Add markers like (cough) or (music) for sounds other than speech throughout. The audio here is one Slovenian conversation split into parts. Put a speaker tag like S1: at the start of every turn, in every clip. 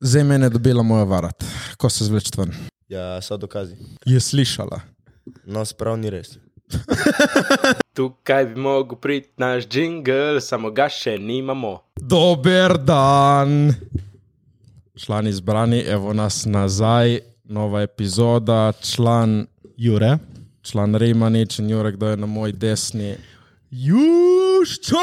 S1: Zdaj mene je dobila moja varat, ko se zvleče ven.
S2: Ja, so dokazi.
S1: Je slišala.
S2: No, sprav ni res.
S3: Tukaj bi mogel priti naš jingle, samo ga še nimamo.
S1: Dober dan. Člani izbrani, evo nas nazaj, nova epizoda, član,
S4: Jure.
S1: član Rejmanič in Jurek, kdo je na moji desni.
S4: Južčop!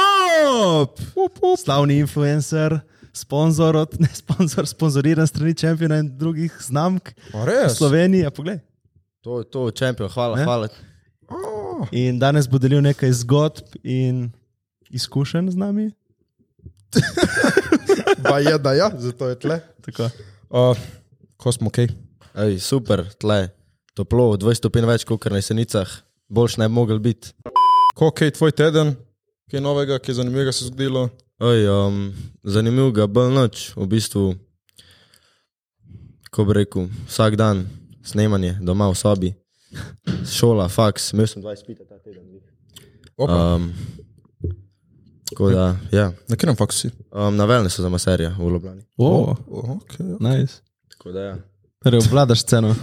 S4: Slavni influencer, sponzor, od, ne sponzor, sponzoriran strani Čempiona in drugih znamk
S1: Res?
S4: Slovenije, pogled.
S2: To je to, čempion, hvala,
S4: Ne?
S2: hvala.
S4: In danes bo delil nekaj zgodb in izkušenj z nami.
S1: Pa je, da ja, zato je tle.
S4: Tako.
S1: Uh, ko smo kaj?
S2: Ej, super, tle, toplo, 20 stopinj več kot na jesenicah, boljš ne bi mogel biti.
S1: Ko kaj tvoj teden, kaj novega, kaj zanimivega se je zgodilo?
S2: Ej, um, zanimiv ga bolj noč, v bistvu, ko bi rekel, vsak dan snemanje, doma v sobi, šola, faks, imel sem 20 pita ta teden.
S1: Opa, uh.
S2: Um, tako da, ja,
S1: Na katerem faksu si?
S2: um, na velne so za maserja v Ljubljani.
S4: Oh,
S1: oh, okay.
S4: nice.
S2: Tako da, ja,
S4: Torej, obvladaš sceno.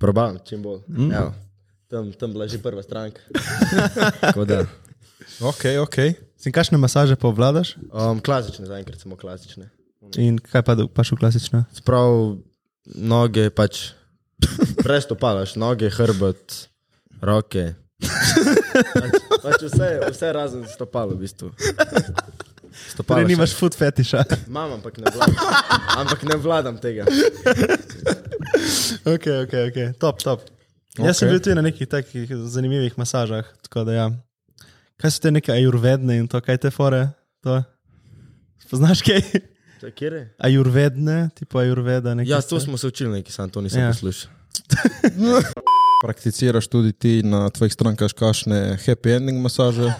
S2: probam, čim bolj. Mm. Evo, tam, tam bila že prva stranka. (laughs) tako da.
S1: ok, ok.
S4: Sem kakšne masaže pa obvladaš
S2: Um, klasične, zaenkrat samo klasične.
S4: in kaj pa do- pa še klasična?
S2: Sprav noge pač prestopalaš, noge, hrbet, roke. pač, pač vse, vse razen stopalo, v bistvu. Stopalo
S4: Torej, nimaš food fetiša. (laughs)
S2: Imam, ampak ne vladam. Ampak ne vladam tega.
S4: ok, ok, ok, top, top. Okay. Jaz sem
S1: Okej.
S4: bil tudi na nekih takih zanimivih masažah, tako da ja. Kaj so te neke ajurvedne in to, kaj te fore? To? Poznaš kaj?
S2: To je kjer je?
S4: Ajurvedne, tipo ajurveda. neke
S2: Ja, to
S4: stvari.
S2: smo se učili neki, sam to nisem ja.
S4: Ja.
S2: poslušal.
S1: Prakticiraš tudi ti na tvojih strankah kakšne happy ending masaže?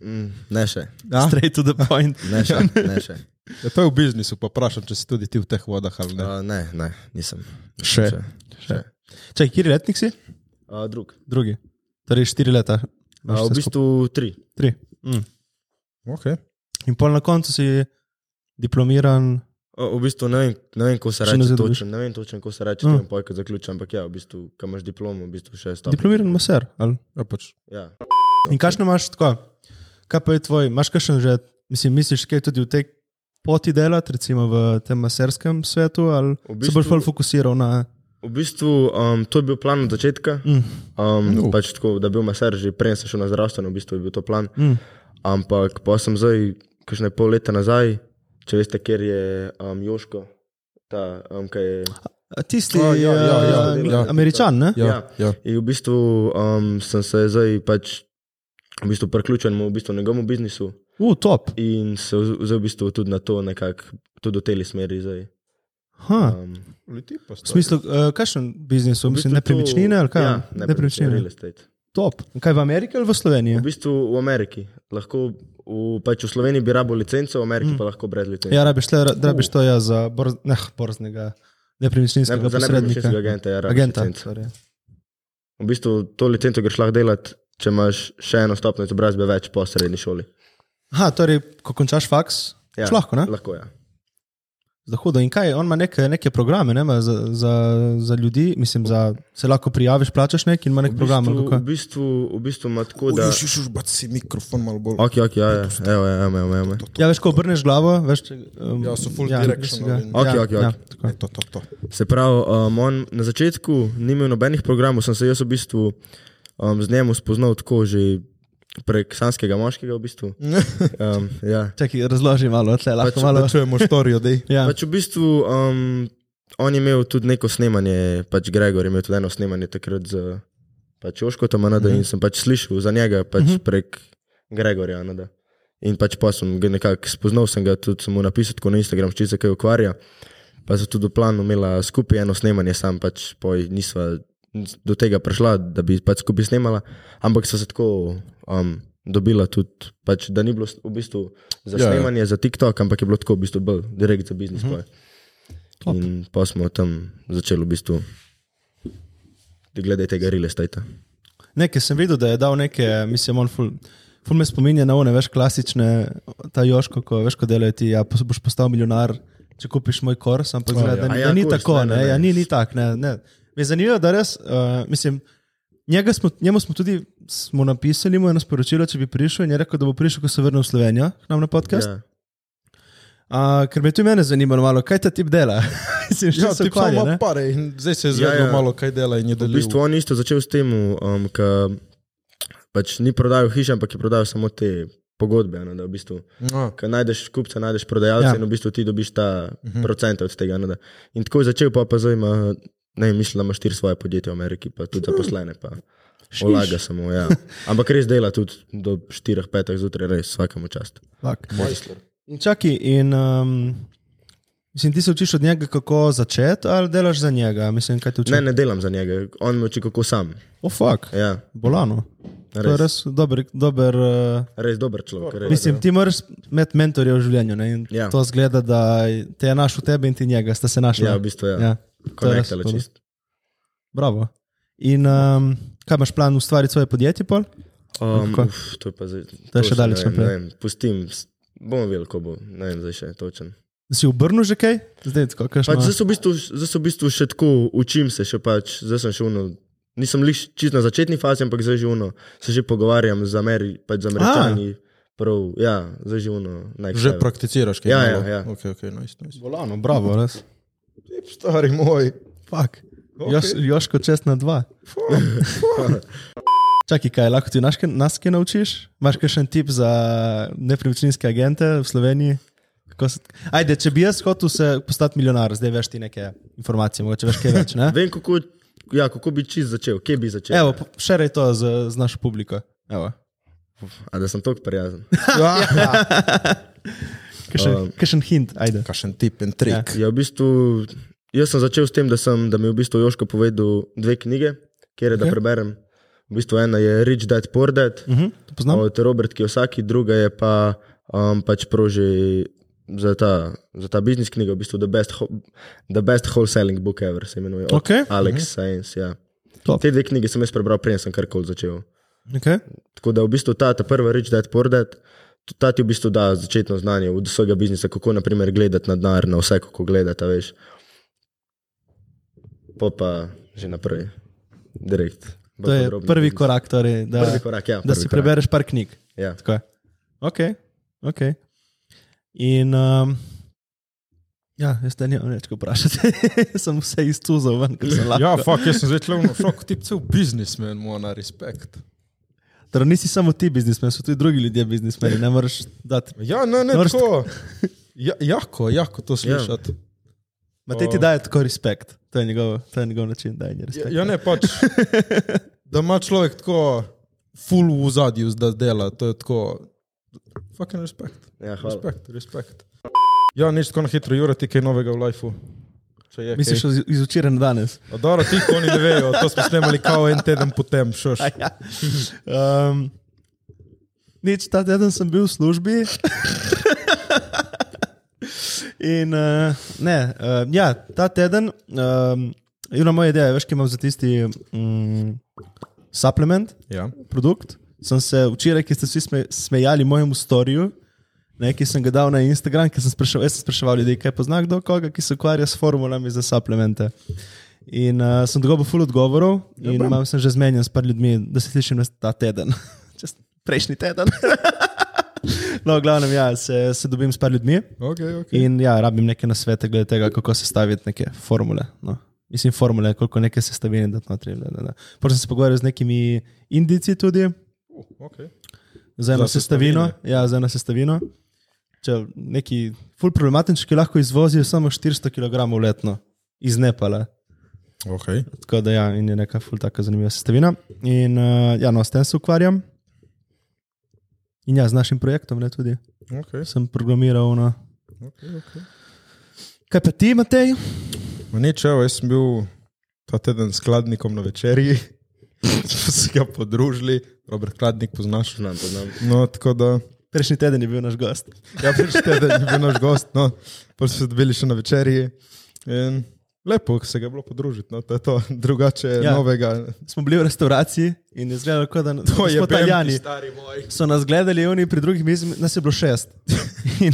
S2: Mm, ne še,
S1: Ja?
S4: Straight to the point.
S2: ne še, ne (laughs) še.
S1: Ja, to je v biznisu, pa vprašam, če si tudi ti v teh vodah ali ne.
S2: Uh, ne, ne, nisem.
S1: Še.
S2: še.
S4: Čakaj, kjer letnik si?
S2: Uh, drug.
S4: Drugi. Torej, štiri leta.
S2: Uh,
S4: Imaš
S2: v
S4: vse
S2: bistvu tri.
S4: skupaj. Tri. Mm.
S1: Okay.
S4: In pol na koncu si diplomiran.
S2: O, v bistvu ne vem, ne vem ko se
S4: Še
S2: reče
S4: ne zadobiš?
S2: točno, ne vem točno, ko se reče,
S4: Mm.
S2: mm. pojk, zaključam, ampak ja, v bistvu, kam imaš diplomo, v bistvu še stopnje.
S4: Diplomiran maser. Ali?
S1: Ja, pač.
S2: Ja.
S4: In kakšno imaš tako? Kaj pa je tvoj, imaš kakšen že, mislim, misliš, kaj tudi v tej poti delati, recimo v tem maserskem svetu, ali
S2: V
S4: bistvu... se boš
S2: bistvu-
S4: bolj fokusiral na.
S2: V bistvu, um, to je bil plan od začetka,
S4: Mm.
S2: um,
S1: No.
S2: pač tako, da bi bil maser že prej, sem šel na zdravstveno, v bistvu je bil to plan,
S4: Mm.
S2: ampak pa sem zdaj, kakšne pol leta nazaj, če veste, kjer je um, Joško, ta, um, kaj je.
S4: A Tisti,
S1: A,
S4: oh,
S1: ja,
S4: ja,
S1: ja,
S4: ja,
S1: ja,
S2: ja.
S4: ja, američan, ne? Ja.
S1: Ja, ja.
S2: In v bistvu um, sem se zdaj pač v bistvu priključen mu, v bistvu njegovemu biznisu
S4: U, top.
S2: in se vz- vzel v bistvu tudi na to nekako, tudi v tej smeri zdaj.
S4: Ha.
S2: Um,
S4: V smislu, uh, kakšen biznis,
S2: v
S4: v mislim,
S2: bistvu to-
S4: nepremičnine Ja. ali kaj?
S2: Ja, nepremičnine. real estate.
S4: Top. Kaj v Ameriki ali v Sloveniji?
S2: V bistvu v Ameriki. Lahko v, pač v Sloveniji bi rabo licenco, v Ameriki mm. pa lahko brez licence.
S4: Ja, rabiš, le, rabiš to ja, za borz, ne, borznega,
S2: ne,
S4: nepremičninskega
S2: za
S4: posrednika.
S2: nepremičninskega agenta. Ja, rabiš
S4: Agenta. torej.
S2: licenco.
S4: sorry.
S2: V bistvu to licenco greš lahko delati, če imaš še eno stopnjo izobrazbe več po srednji šoli.
S4: Aha, torej, ko končaš faks, ja. lahko, ne?
S2: Lahko, ja.
S4: Za hudo. In kaj, on ima neke, neke programe ne, ima za, za, za ljudi, mislim, za, se lahko prijaviš, plačaš nek in ima nek
S2: V
S4: program.
S2: bistvu,
S4: ali
S2: v
S4: kako?
S2: bistvu, v bistvu ima tako, da...
S1: Ujuš, ujuš, ujuš, baci mikrofon malo bolj.
S2: Ok, ok, ja, ja. evo, ja, evo, evo, evo.
S4: Ja, veš, ko obrneš glavo, veš, če, um,
S1: Ja, so full
S4: res
S1: directional
S4: ga-
S1: in-
S2: Okej, okej,
S4: ja,
S2: okej.
S4: tako.
S1: Ne, to, to, to.
S2: Se pravi, um, on na začetku ni imel nobenih programov, sem se jaz v bistvu um, z njim spoznal tako že prek sanskega moškega v bistvu. Um, ja.
S4: Čakaj, razloži malo, tle,
S2: Pač,
S4: lahko pač, malo.
S1: čujemo štorijo, dej.
S4: Ja.
S2: Pač v bistvu um, on je imel tudi neko snemanje, pač Gregor je imel tudi eno snemanje takrat z pač Oškotom Anada mm -hmm. in sem pač slišal za njega pač mm -hmm. prek Gregorja Anada. In pač pa sem ga nekako spoznal, sem ga tudi sem mu napisal tako na Instagram, če se kaj ukvarja. Pa so tudi v planu imela skupaj eno snemanje, sam pač poj nisva nis- do tega prišla, da bi pač skupaj snemala, ampak so se tako um, dobila tudi, pač, da ni bilo s- v bistvu
S1: Ja,
S2: za
S1: Mhm. ja.
S2: ja, snemanje, ja. za TikTok, ampak je bilo tako v bistvu bolj direkt za biznis. Mm -hmm. In pa smo tam začeli v bistvu glede tega real estate.
S4: Nekaj sem videl, da je dal neke, mislim, on ful. Ful me spominja na one, veš, klasične, ta Joško, ko veš, ko delajo ti, ja, pos- boš postal milijonar, če kupiš moj kors, ampak
S1: O,
S4: zgleda,
S1: ja.
S4: da,
S2: A
S4: ni-
S2: ja,
S4: da ni
S2: kurs,
S4: tako, ne, ja, ni, ni tak, ne, ne. Me je zanimivo, da res, uh, mislim, njega smo, njemu smo tudi smo napisali mu eno sporočilo, če bi prišel in je rekel, da bo prišel, ko se vrne v Slovenijo, k nam na podcast. Ja.
S2: Ja.
S4: Uh, ker me tudi mene zanima malo, kaj ta tip dela. (laughs) mislim,
S1: Ja,
S4: ja,
S1: ti
S4: tip
S1: pa
S4: ukvarja,
S1: ima
S4: ne?
S1: pare in zdaj se je zvedelo ja, ja.
S2: Ja, ja.
S1: malo, kaj dela in je
S2: V
S1: delil.
S2: bistvu on isto začel s tem, um, da pač ni prodajal hiše, ampak je prodajal samo te pogodbe. a Ne, da v bistvu,
S1: Ja.
S2: ko najdeš kupca, najdeš prodajalca
S4: Ja.
S2: ja. in v bistvu ti dobiš ta mhm. procent od tega. a Ne, da. in tako je začel, pa, pa zdaj ima, ne vem, mislim, da ima štiri svoje podjetja v Ameriki, pa tudi zaposlene. Pa. Olaga samo,
S4: (laughs)
S2: ja. Ampak res dela tudi do 4-5 zjutraj, res vsakemu čast.
S4: Fak.
S1: Mojster.
S4: In čakaj, in, um, mislim, ti se učiš od njega, kako začeti, ali delaš za njega? Mislim, kaj te učiš?
S2: Ne, ne delam za njega, on me uči kako sam.
S4: O, oh, fuk, ja.
S2: Ja,
S4: bolano. Res. To je
S2: Res.
S4: res dober. dober uh,
S2: res dober človek. Res.
S4: Mislim, ti moraš imeti mentorja v življenju. Ne? in
S2: Ja.
S4: To zgleda, da te je našel tebe in ti njega, sta se našla.
S2: Ja, v bistvu, ja.
S4: Ja, to je res
S2: Konektala
S4: dobro.
S2: čist.
S4: Bravo. In um, kaj imaš plan ustvariti svoje podjetje? Pol?
S2: Um,
S4: Kako?
S2: uf, to je pa zdaj.
S4: To je še
S2: točno
S4: daleč
S2: ne vem,
S4: naprej.
S2: ne vem, Pustim, s- bomo videli, ko bo. Ne vem, zdaj še točen.
S4: Si obrnil že kaj? Zdaj, tako, kakšno...
S2: Pač zdaj se v bistvu, zdaj se v bistvu še tako učim, se še pač, zdaj sem še uno. Nisem lih čist na začetni fazi, ampak zdaj že uno. Se že pogovarjam z, Ameri, pač z Američani. Prav, ja, zdaj že uno. naj
S1: Že
S2: kaj.
S1: prakticiraš, kaj
S2: Ja,
S1: malo?
S2: ja, ja.
S1: Okay, okay, nice, nice.
S4: bolano, No, bravo, res.
S1: Tip, stari moj.
S4: Fak. Još, Joško čest na dva. (laughs) Čakaj, kaj lahko ti naš, kaj- nas kaj naučiš? Imaš kakšen tip za nepremičninske agente v Sloveniji? Kako Se, ajde, če bi jaz hotel se postati milijonar, zdaj veš ti neke informacije, mogoče veš kaj več.
S2: (laughs)
S4: Ne?
S2: Vem, kako, ja, kako bi čist začel, kje bi začel.
S4: Evo, po- še rej to z, z našo publiko. Evo.
S2: A da sem tako prijazen.
S1: Ja.
S4: Kakšen, um,
S2: Um.
S4: kakšen hint, ajde.
S1: Kašen tip in trik.
S2: Ja, v bistvu, jaz sem začel s tem, da, sem, da mi je v bistvu Joško povedal dve knjige, kjer je okay. da
S4: Ok.
S2: preberem. V bistvu ena je Rich Dad Poor Dad
S4: Uh -huh, to poznam?
S2: od Robert Kiyosaki, druga je pa um, pač proži za ta, za ta biznis knjiga, v bistvu The Best, Ho The Best Wholesaling Book Ever se imenuje. od
S4: Ok.
S2: Alex mm -hmm. Science, ja.
S4: Mhm. Top.
S2: Te dve knjige sem jaz prebral, preden sem karkoli začel.
S4: Okay.
S2: Tako da v bistvu ta, ta prva reč, da je pordati, ta ti v bistvu da začetno znanje od vsega biznisa, kako naprimer gledati na denar, na vse, kako gledati, a veš. Pa pa že naprej, direkt. bolj
S4: To je
S2: podrobno.
S4: prvi korak, torej, da,
S2: Prvi korak, ja,
S4: da
S2: prvi
S4: si
S2: korak.
S4: prebereš par knjig.
S2: Ja.
S4: Tako je. Ok, ok. In. Um, ja, jaz te nimam več, ko (laughs) vprašate. sem vse iztuzal ven, ker sem lahko.
S1: Ja, fuck, jaz sem zdaj tle v šoku, tip cel biznismen, mu na respekt.
S4: Torej, nisi samo ti biznismen, so tudi drugi ljudje biznismeni, ne moreš dati.
S1: Ja, ne, ne, (laughs)
S4: Norsk.
S1: tako. Ja, jako, jako to slišati.
S4: Matej ti
S1: O.
S4: daje tako respekt, to je njegov, to je njegov način dajanja
S1: Ja,
S4: respekta.
S1: ja, ne, pač. Da ima človek tako full v zadju, da dela, to je tako. Fucking respekt.
S2: Ja, hvala.
S1: Respekt, respekt. Ja, nič tako na hitro, Jure, ti kaj novega v lifeu. Če je
S4: Misliš
S1: kaj.
S4: iz- iz včeraj na danes?
S1: A Dobro, ti oni ne vejo, to smo snemali kao en teden potem, šoš. (laughs)
S4: A Ja. Um, nič, ta teden sem bil v službi. In uh, ne, uh, ja, ta teden, um, ena moja ideja, je, veš, kaj imam za tisti um, supplement,
S1: Ja.
S4: produkt. Sem se včeraj, ki ste vsi sme, smejali mojemu storju, ne, ki sem ga dal na Instagram, ker sem spraševal, jaz sem spraševal ljudi, kaj pozna kdo koga, ki se ukvarja s formulami za suplemente. In uh, sem dobil ful odgovorov in imam sem že zmenjen s par ljudmi, da se slišim nas ta teden, (laughs) Čez prejšnji teden. (laughs) no, v glavnem, ja, se, se dobim s par ljudmi
S1: Okay, okay.
S4: in ja, rabim neke nasvete glede tega, kako sestaviti neke formule. No. Mislim, formule, koliko neke sestavine da notri. da, da, da. Potem sem se pogovarjal z nekimi indici tudi,
S1: Okay.
S4: za eno
S1: Za sestavine.
S4: sestavino. Ja, za eno sestavino. Če neki ful problematični, ki lahko izvozijo samo 400 kg letno iz Nepala.
S1: Okay.
S4: Tako da ja, in je neka ful tako zanimiva sestavina. In uh, ja, no, s tem se ukvarjam. In ja, z našim projektom ne tudi.
S1: Okay.
S4: Sem programiral na.
S1: Okay, okay.
S4: Kaj pa ti, Matej?
S1: Nič, evo, jaz sem bil ta teden s skladnikom na večerji, (laughs) smo se ga podružili, Robert Kladnik poznaš.
S2: Znam, poznam.
S1: No, tako da.
S4: Prejšnji teden je bil naš gost.
S1: Ja, prište, da je bil naš gost, no, pa smo se dobili še na večerji. In Lepo se ga je bilo podružiti, no, to je to. drugače
S4: Ja.
S1: ja. novega.
S4: Smo bili v restauraciji in je izgledalo, kot da
S1: To je
S4: smo Italijani.
S1: Bembi, stari moj.
S4: So nas gledali, oni pri drugih mizih, nas je bilo šest. In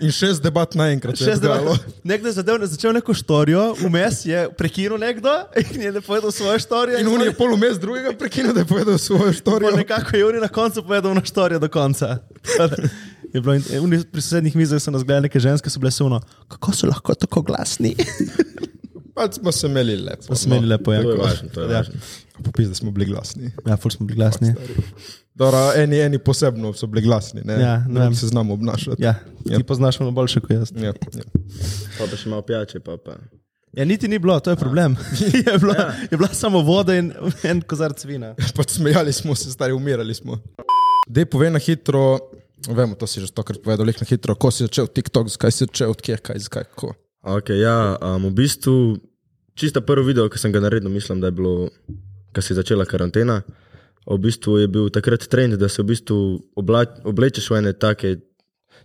S1: In šest debat naenkrat.
S4: šest devet, nekdo je zadev, začel neko štorijo, vmes je prekinil nekdo in je povedal svojo štorijo.
S1: In on je pol mes drugega prekinil, da je povedal svojo
S4: Pa
S1: štorijo.
S4: nekako je oni na koncu povedal na štorijo do konca. (laughs) Tako da Je bilo in, in pri sosednjih mizah so nas gledali neke ženske, so bile suno. Kako so lahko tako glasni? (laughs)
S1: Pač smo se imeli lepo. no. Smo
S4: Smeli lepo, ja.
S2: To je važno, to je
S4: Ja.
S2: važno.
S1: Popis, da smo bili glasni.
S4: Ja, ful smo bili glasni.
S1: Dora, eni, eni posebno so bili glasni, ne,
S4: Ja, ne vem.
S1: Drugi se znamo obnašati.
S4: Ja, ti poznaš malo boljše kot jaz.
S1: Ja, ja.
S2: Pa pa še malo pijače, pa pa.
S4: Ja, niti ni bilo, to je (laughs) problem. je, bila, je bila samo voda in en kozarc vina.
S1: (laughs) Pač smejali smo se, stari umirali smo. Dej povej na hitro, vemo, to si že stokrat povedal, leh na hitro, ko si začel TikTok, zakaj si začel, odkje, kaj, zakaj, kako.
S2: Ok, ja, um, v bistvu, čista prvi video, ki sem ga naredil, mislim, da je bilo, ko se je začela karantena. V bistvu je bil takrat trend, da se v bistvu obla, oblečeš v ene take,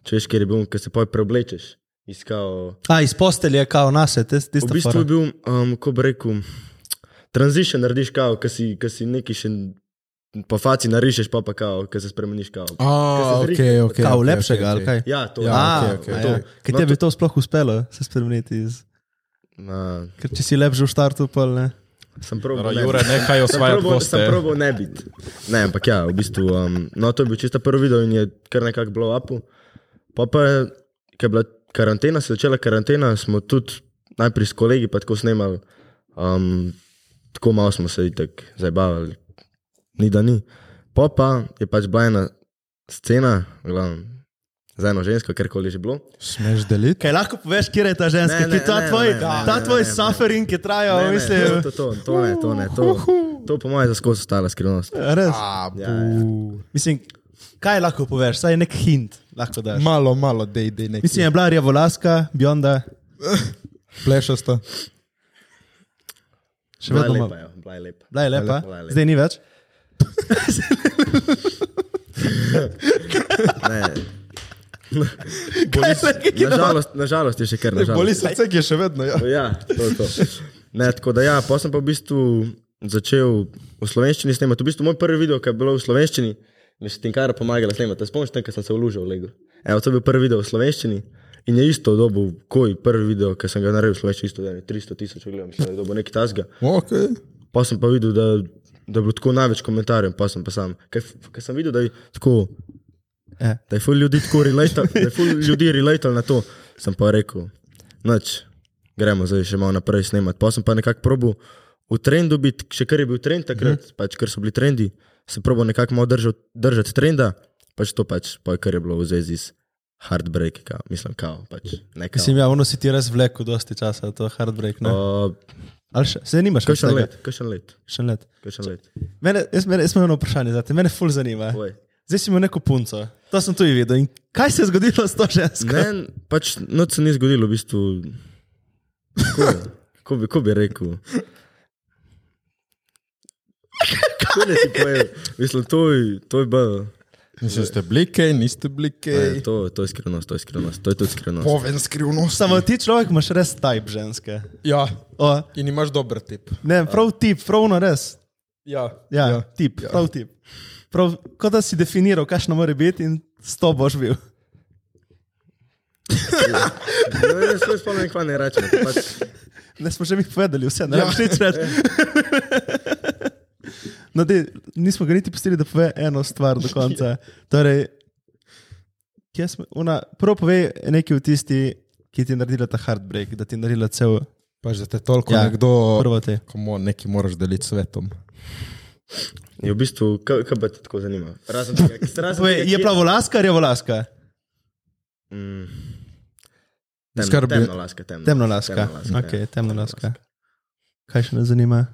S2: če veš, kjer je bil, ki se poj preoblečeš. Iskal.
S4: A, iz postelje, kao nase, tiste
S2: V bistvu je bil, um, ko bi rekel, transition narediš kao, ki si, ki si neki še po faci narišeš, pa pa kao, ki se spremeniš kao.
S1: A,
S2: Kaj se zrihtalo?
S1: ok.
S4: kao lepšega, ali kaj?
S2: Ja, to
S1: Ja,
S4: A,
S1: okej, okej,
S4: a
S1: to
S4: ja.
S1: je-
S4: Kaj
S2: no,
S4: tebi je to sploh uspelo, se spremeniti iz...
S2: Na,
S4: Ker če si lep že v startu, pa ne.
S2: sem prav.
S5: Jure, nehaj osvajati
S2: Sem
S5: goste.
S2: probo ne biti. Ne, ampak ja, v bistvu, um, no to je bil čisto prvi video in je kar nekako blow up. Pa pa je, ko je bila karantena, se je začela karantena, smo tudi najprej s kolegi pa tako snemali, um, tako malo smo se itak zabavali, ni da ni. Pa pa je pač bila ena scena, glavno, za eno žensko, karkoli že bilo.
S1: Smeš deliti?
S4: Kaj lahko poveš, kje je ta
S2: Ne,
S4: ženska, ne,
S2: ne,
S4: ki je ta
S2: ne,
S4: tvoj,
S2: ne, ne,
S4: ta
S2: ne,
S4: tvoj
S2: ne, ne.
S4: suffering, ki je trajal,
S2: Ne, ne,
S4: Ja, mislim. (laughs)
S2: to, to, to, to ne, to ne, to, to po mojem je za skozi ostala skrivnost.
S4: Res.
S2: Ja, ja.
S4: Mislim, kaj lahko poveš, saj nek hint lahko daš.
S1: Malo, malo, dej, dej, nekaj.
S4: Mislim, je bila rjavolaska, bionda,
S1: plešasta.
S4: še
S2: Bila je
S4: vedno
S2: lepa,
S4: ima-
S2: ja, bila je lepa.
S4: bila je lepa,
S2: Bila je lepa.
S4: zdaj ni več. (laughs)
S2: Ne.
S4: Kaj je nekaj, ki-
S2: Nažalost, nažalost je še kar nažalost.
S1: Boli srce, ki je še vedno, ja.
S2: Ja, to je to. Ne, tako da ja, pa sem pa v bistvu začel v slovenščini snemati. V bistvu moj prvi video, ki je bilo v slovenščini, mi je Tinkara pomagala snemati. Spomniš, tam, ko sem se vlužil v Lego. Evo, to je bil prvi video v slovenščini. In je isto dobo, koj prvi video, ki sem ga naredil v slovenščini, isto da je 300 tisoč ogledov, mislim, da je dobo nekaj tasga.
S1: Okay.
S2: Pa sem pa videl, da, da je bilo tako največ komentarjev, pa sem pa sam. Ker ker sem videl, da je tako.
S4: Ja.
S2: Da je ful ljudi tako relatal, da je ful ljudi relatal na to. Sem pa rekel, noč, gremo zdaj še malo naprej snemati. Pa sem pa nekako probil v trendu biti, še kar je bil trend takrat,
S4: Mhm.
S2: mm. pač ker so bili trendi, sem probil nekako malo držati, držati trenda, pač to pač, pa kar je bilo v zvezi z heartbreak, kao, mislim, kao, pač nekaj.
S4: Mislim, ja, ono si ti res vleko dosti časa, to je heartbreak. ne?
S2: Uh,
S4: Ali še, se nimaš več
S2: kakšen
S4: tega?
S2: let, kakšen let,
S4: Še let.
S2: kakšen let.
S4: Mene, jaz, mene, jaz imam eno vprašanje za te, mene ful zanima.
S2: Oj.
S4: Zdaj si imel neko punco, to sem tudi videl. In kaj se je zgodilo s to žensko?
S2: Ne, pač noč se ni zgodilo, v bistvu. Ko, ko, bi, ko bi rekel? Kaj ne ti povem? Mislim, to je, to je bilo.
S1: Mislim, ste blike, niste blike.
S2: To, to je skrivnost, to je skrivnost, to je tudi skrivnost.
S1: Poven skrivnost.
S4: Samo ti človek imaš res type ženske.
S1: Ja,
S4: O,
S1: in imaš dober tip.
S4: ne, prav tip, prav no res.
S1: Ja,
S4: Ja, ja, tip, ja. prav tip. Prav, kot da si definiral, kakšno mora biti in s to boš bil.
S2: Ne, ne, ne, Ja, spomnim, kva ne rečem. Pač,
S4: Ne smo že mi povedali, vse, ne rabiš nič več. (laughs) No, dej, nismo ga niti pustili, da pove eno stvar do konca. Torej, kje smo, ona, prvo pove nekaj o tisti, ki ti je naredila ta heartbreak, da ti je naredila cel.
S1: Pač, da te toliko ja,
S4: Ja,
S1: nekdo,
S4: prvo te.
S1: komu neki moraš deliti svetom.
S2: je v bistvu, kaj ka pa te tako zanima? Razen tega, razen
S4: Povej, je plavolaska, je volaska.
S2: Temno,
S1: Skrbi-
S2: Mm. temno laska, temno.
S4: Temnolaska.
S2: Temnolaska, ja.
S4: Ok, temnolaska. Kaj še nas zanima?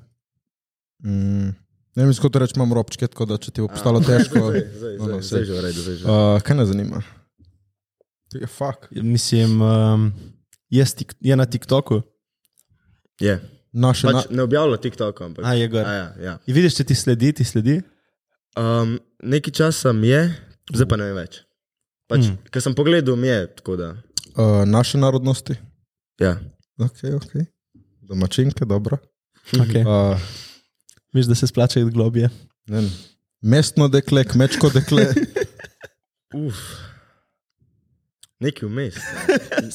S1: Mm. Ne vem, kako to rečem, imam robčke, tako da če ti bo postalo težko. (laughs)
S2: Zdaj, zdaj,
S1: No, no,
S2: zdaj, zdaj že v redu, zdaj že.
S1: Uh, kaj ne zanima? To je fakt.
S4: Mislim, um, je, s tik, je na TikToku.
S2: Je.
S1: Naše
S2: Pač
S1: pač,
S2: ne objavlja TikToka, ampak.
S4: A, je gor.
S2: A, ja, ja.
S4: In vidiš, če ti sledi, ti sledi.
S2: Um, nekaj časa mi je, zdaj pa ne vem več. Pač, mm. Ker sem pogledal, mi je tako da.
S1: na, uh, naše narodnosti.
S2: Ja.
S1: Okay, okay. domačinke, dobro.
S4: Okay.
S1: Uh,
S4: Misliš, da se splača iti globje.
S1: ne vem, mestno dekle, kmečko
S4: (laughs)
S1: dekle,
S2: Uf. Nekaj vmes.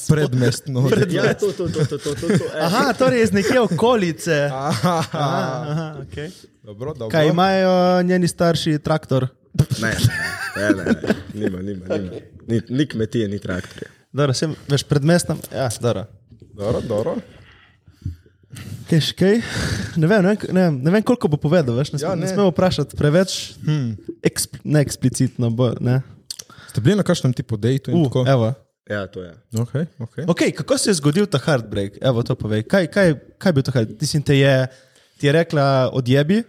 S1: predmestno dekle.
S2: (laughs) Ja, to, to, to, to, to, to, to. eh.
S4: Aha, torej iz neke okolice.
S1: Aha,
S4: Aha, okay.
S1: dobro, dobro.
S4: Kaj imajo njeni starši traktor?
S2: Ne, ne, ne, ne. nima, nima, nima. Ni, ni kmetije, ni traktorja.
S4: Dobro, sem, veš, pred mestom. Ja, dobro.
S1: Dobro, dobro.
S4: Keš, kaj? Ne vem, ne, vem, ne, vem, ne vem, koliko bo povedal, veš, ne, ja,
S1: Ja,
S4: ne. ne
S1: ne. Hm.
S4: smemo vprašati preveč, hmm. ekspl, ne eksplicitno. Bo, ne.
S1: Ste bili na kakšnem tipu dejtu in
S4: U,
S1: tako?
S4: evo.
S2: Ja, to je.
S1: Okay, okay.
S4: Ok, kako se je zgodil ta heartbreak? Evo, to povej. Kaj, kaj, kaj je bil to heartbreak? Mislim, te je, ti je rekla odjebi,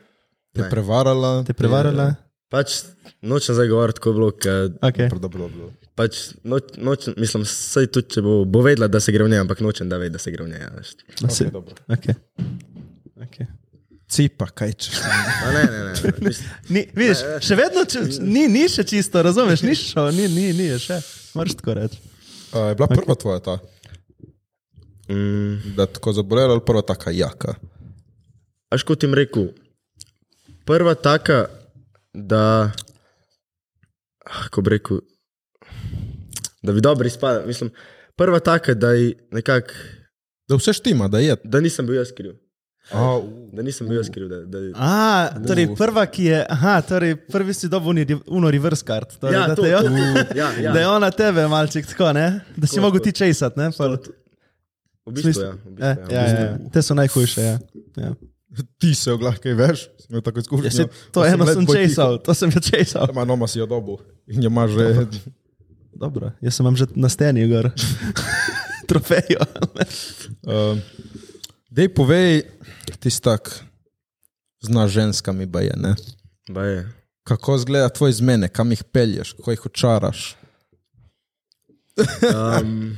S1: Te prevarala.
S4: te je prevarala.
S2: Pač nočem zdaj govoriti, ko je bilo, ker
S4: Okay.
S1: Dobro, dobro, dobro.
S2: pač noč, nočem, mislim, saj tudi če bo, bo vedela, da se gre v njej, ampak nočem, da ve, da se gre v njej. a veš.
S4: Okay,
S1: dobro.
S4: okay. Okay.
S1: Cipa, kaj (laughs) če.
S2: Ma Ne, ne, ne. ne. Mislim,
S4: Ni, vidiš, še vedno če, ni, ni še čisto, razumeš, ni šel, ni, ni, ni je še. Moraš tako reči.
S1: Uh, je bila prva okay. tvoja ta,
S2: mm,
S1: da tako zabolela, ali prva taka jaka?
S2: Aš kot jim rekel, prva taka, da. ah, Ko bi rekel, da bi dobro izpadel. Mislim, prva taka, da, ji nekak,
S1: Da vse štima, da je.
S2: da nisem bil jaz kriv.
S1: A,
S2: Da nisem bil jaz kriv. Da, da,
S4: A, torej prva, ki je, aha, torej prvi si dobil oni re- uno reverse card. Torej,
S2: Ja,
S4: da,
S2: to,
S4: te, (laughs)
S2: to,
S4: jo,
S2: ja,
S4: da je
S2: ja.
S4: ona tebe, malček, tako, ne? da si
S2: Tako,
S4: mogel
S2: tako.
S4: ti česati. Ne? Pol,
S2: V bistvu,
S4: smislu-
S2: ja, v
S4: eh,
S2: bistvu,
S4: ja, ja, ja. Te so najhujše. Ja. Ja.
S1: Ti se oglahkaj veš, smo tako izkušnja.
S4: Ja, se, to eno sem česal, to sem jo česal.
S1: Ma noma si jo dobil in jo imaš že.
S4: Dobro, jaz sem vam že na steni, gor. (laughs) trofejo.
S1: Uh, dej povej, ti stak, znaš ženskami baje, ne?
S2: Ba je.
S1: Kako izgleda tvoj zmene, kam jih pelješ, kako jih očaraš?
S2: Um,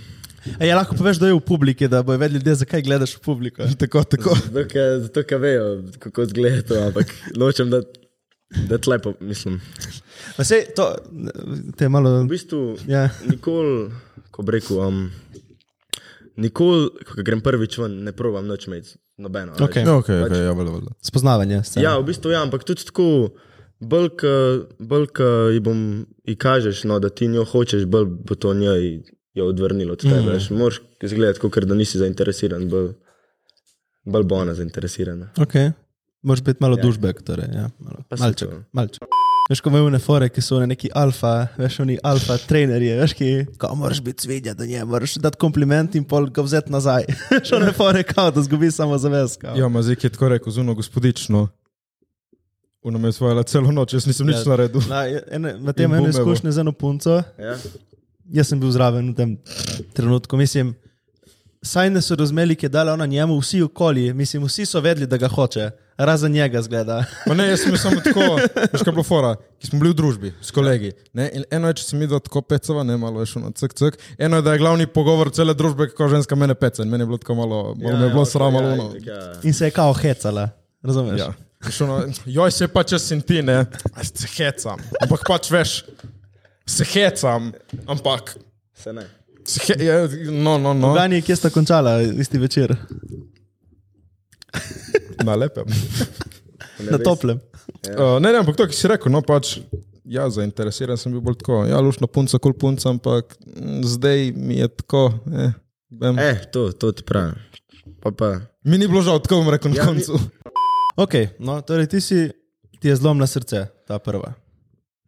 S4: E, ja, lahko poveš, da je v publiki, da bojo vedeli ljudje, zakaj gledaš v (laughs) publiko.
S1: Tako, tako.
S2: zato, ker- zato, ker vejo, kako izgleda to, ampak nočem, da, da tlepo, mislim.
S4: Ma Sej, to, te je malo.
S2: V bistvu,
S4: Ja.
S2: nikoli, ko bi rekel, um, nikoli, ko grem prvič ven, ne provam noč imeti nobeno. a veš.
S4: Okej.
S1: Ja, ok, ok, ja, vele, vele.
S4: Spoznavanje. scene.
S2: Ja, v bistvu ja, ampak tudi tako, bolj, ke- bolj ko ji bom, ji kažeš, no, da ti njo hočeš, bolj bo to njej jo odvrnilo od tebe. Mm. Moraš izgledati, kot da nisi zainteresiran, bolj, bolj bo ona zainteresirana.
S4: Okay. Moraš biti malo ja. dušbek, torej. Ja, malo.
S2: Pa sem
S4: Malček,
S2: to.
S4: malček. Veš, ko imajo nefore, ki so one neki alfa, veš, oni alfa trenerji, veš, ki ko moraš biti svidja do nje, moraš dati kompliment in pol ga vzeti nazaj. (laughs) Veš, one nefore, kao, da zgubi samo zavez. kao.
S1: Ja, mazik je tako rekel, zuno gospodično. Ona me je svojala celo noč, jaz nisem nič
S4: Ja.
S1: naredil.
S4: Na, ene, na tem
S1: In
S4: eno
S1: bumevo.
S4: izkušnjo z eno punco,
S2: Ja?
S4: jaz sem bil zraven v tem trenutku, mislim. Saj ne so razumeli, ki je dala ona njemu, vsi okoli, mislim, vsi so vedeli, da ga hoče, razen njega zgleda. (laughs)
S1: Pa ne, jaz sem samo tako, veš, kaj je bilo fora, ki smo bili v družbi s kolegi. Ne? in Eno je, če se mi dva tako pecava, ne malo je šlo na cek cek, eno je, da je glavni pogovor cele družbe, kako ženska mene peca. In meni je bilo tako malo, malo ja, me je bilo ja, sram, malo. ono.
S2: Ja, ja.
S4: In se je kao hecala, razumeš?
S1: Ja. Veš, ono, Joj, se pa če sem ti, ne, "Aj, se hecam. Ampak pač veš, se hecam, ampak.
S2: Se ne.
S1: Se he, je, no, no, no.
S4: Gani, kje sta končala isti večer?
S1: Na lepem.
S2: Ne
S4: Na
S2: veš.
S4: toplem.
S1: Uh, ne, ne, ampak to, ki si rekel, no pač. Ja, zainteresiran sem bil bolj tako. Ja, lušna punca, kul punca, ampak mm, zdaj mi je tako. Eh, bem.
S2: Eh, to, to ti pravim. Pa pa.
S1: Mi ni bilo žal, tako bom rekel na
S2: Ja, ni-
S1: koncu.
S4: Ok, no, torej ti si, ti je zlomna srce, ta prva.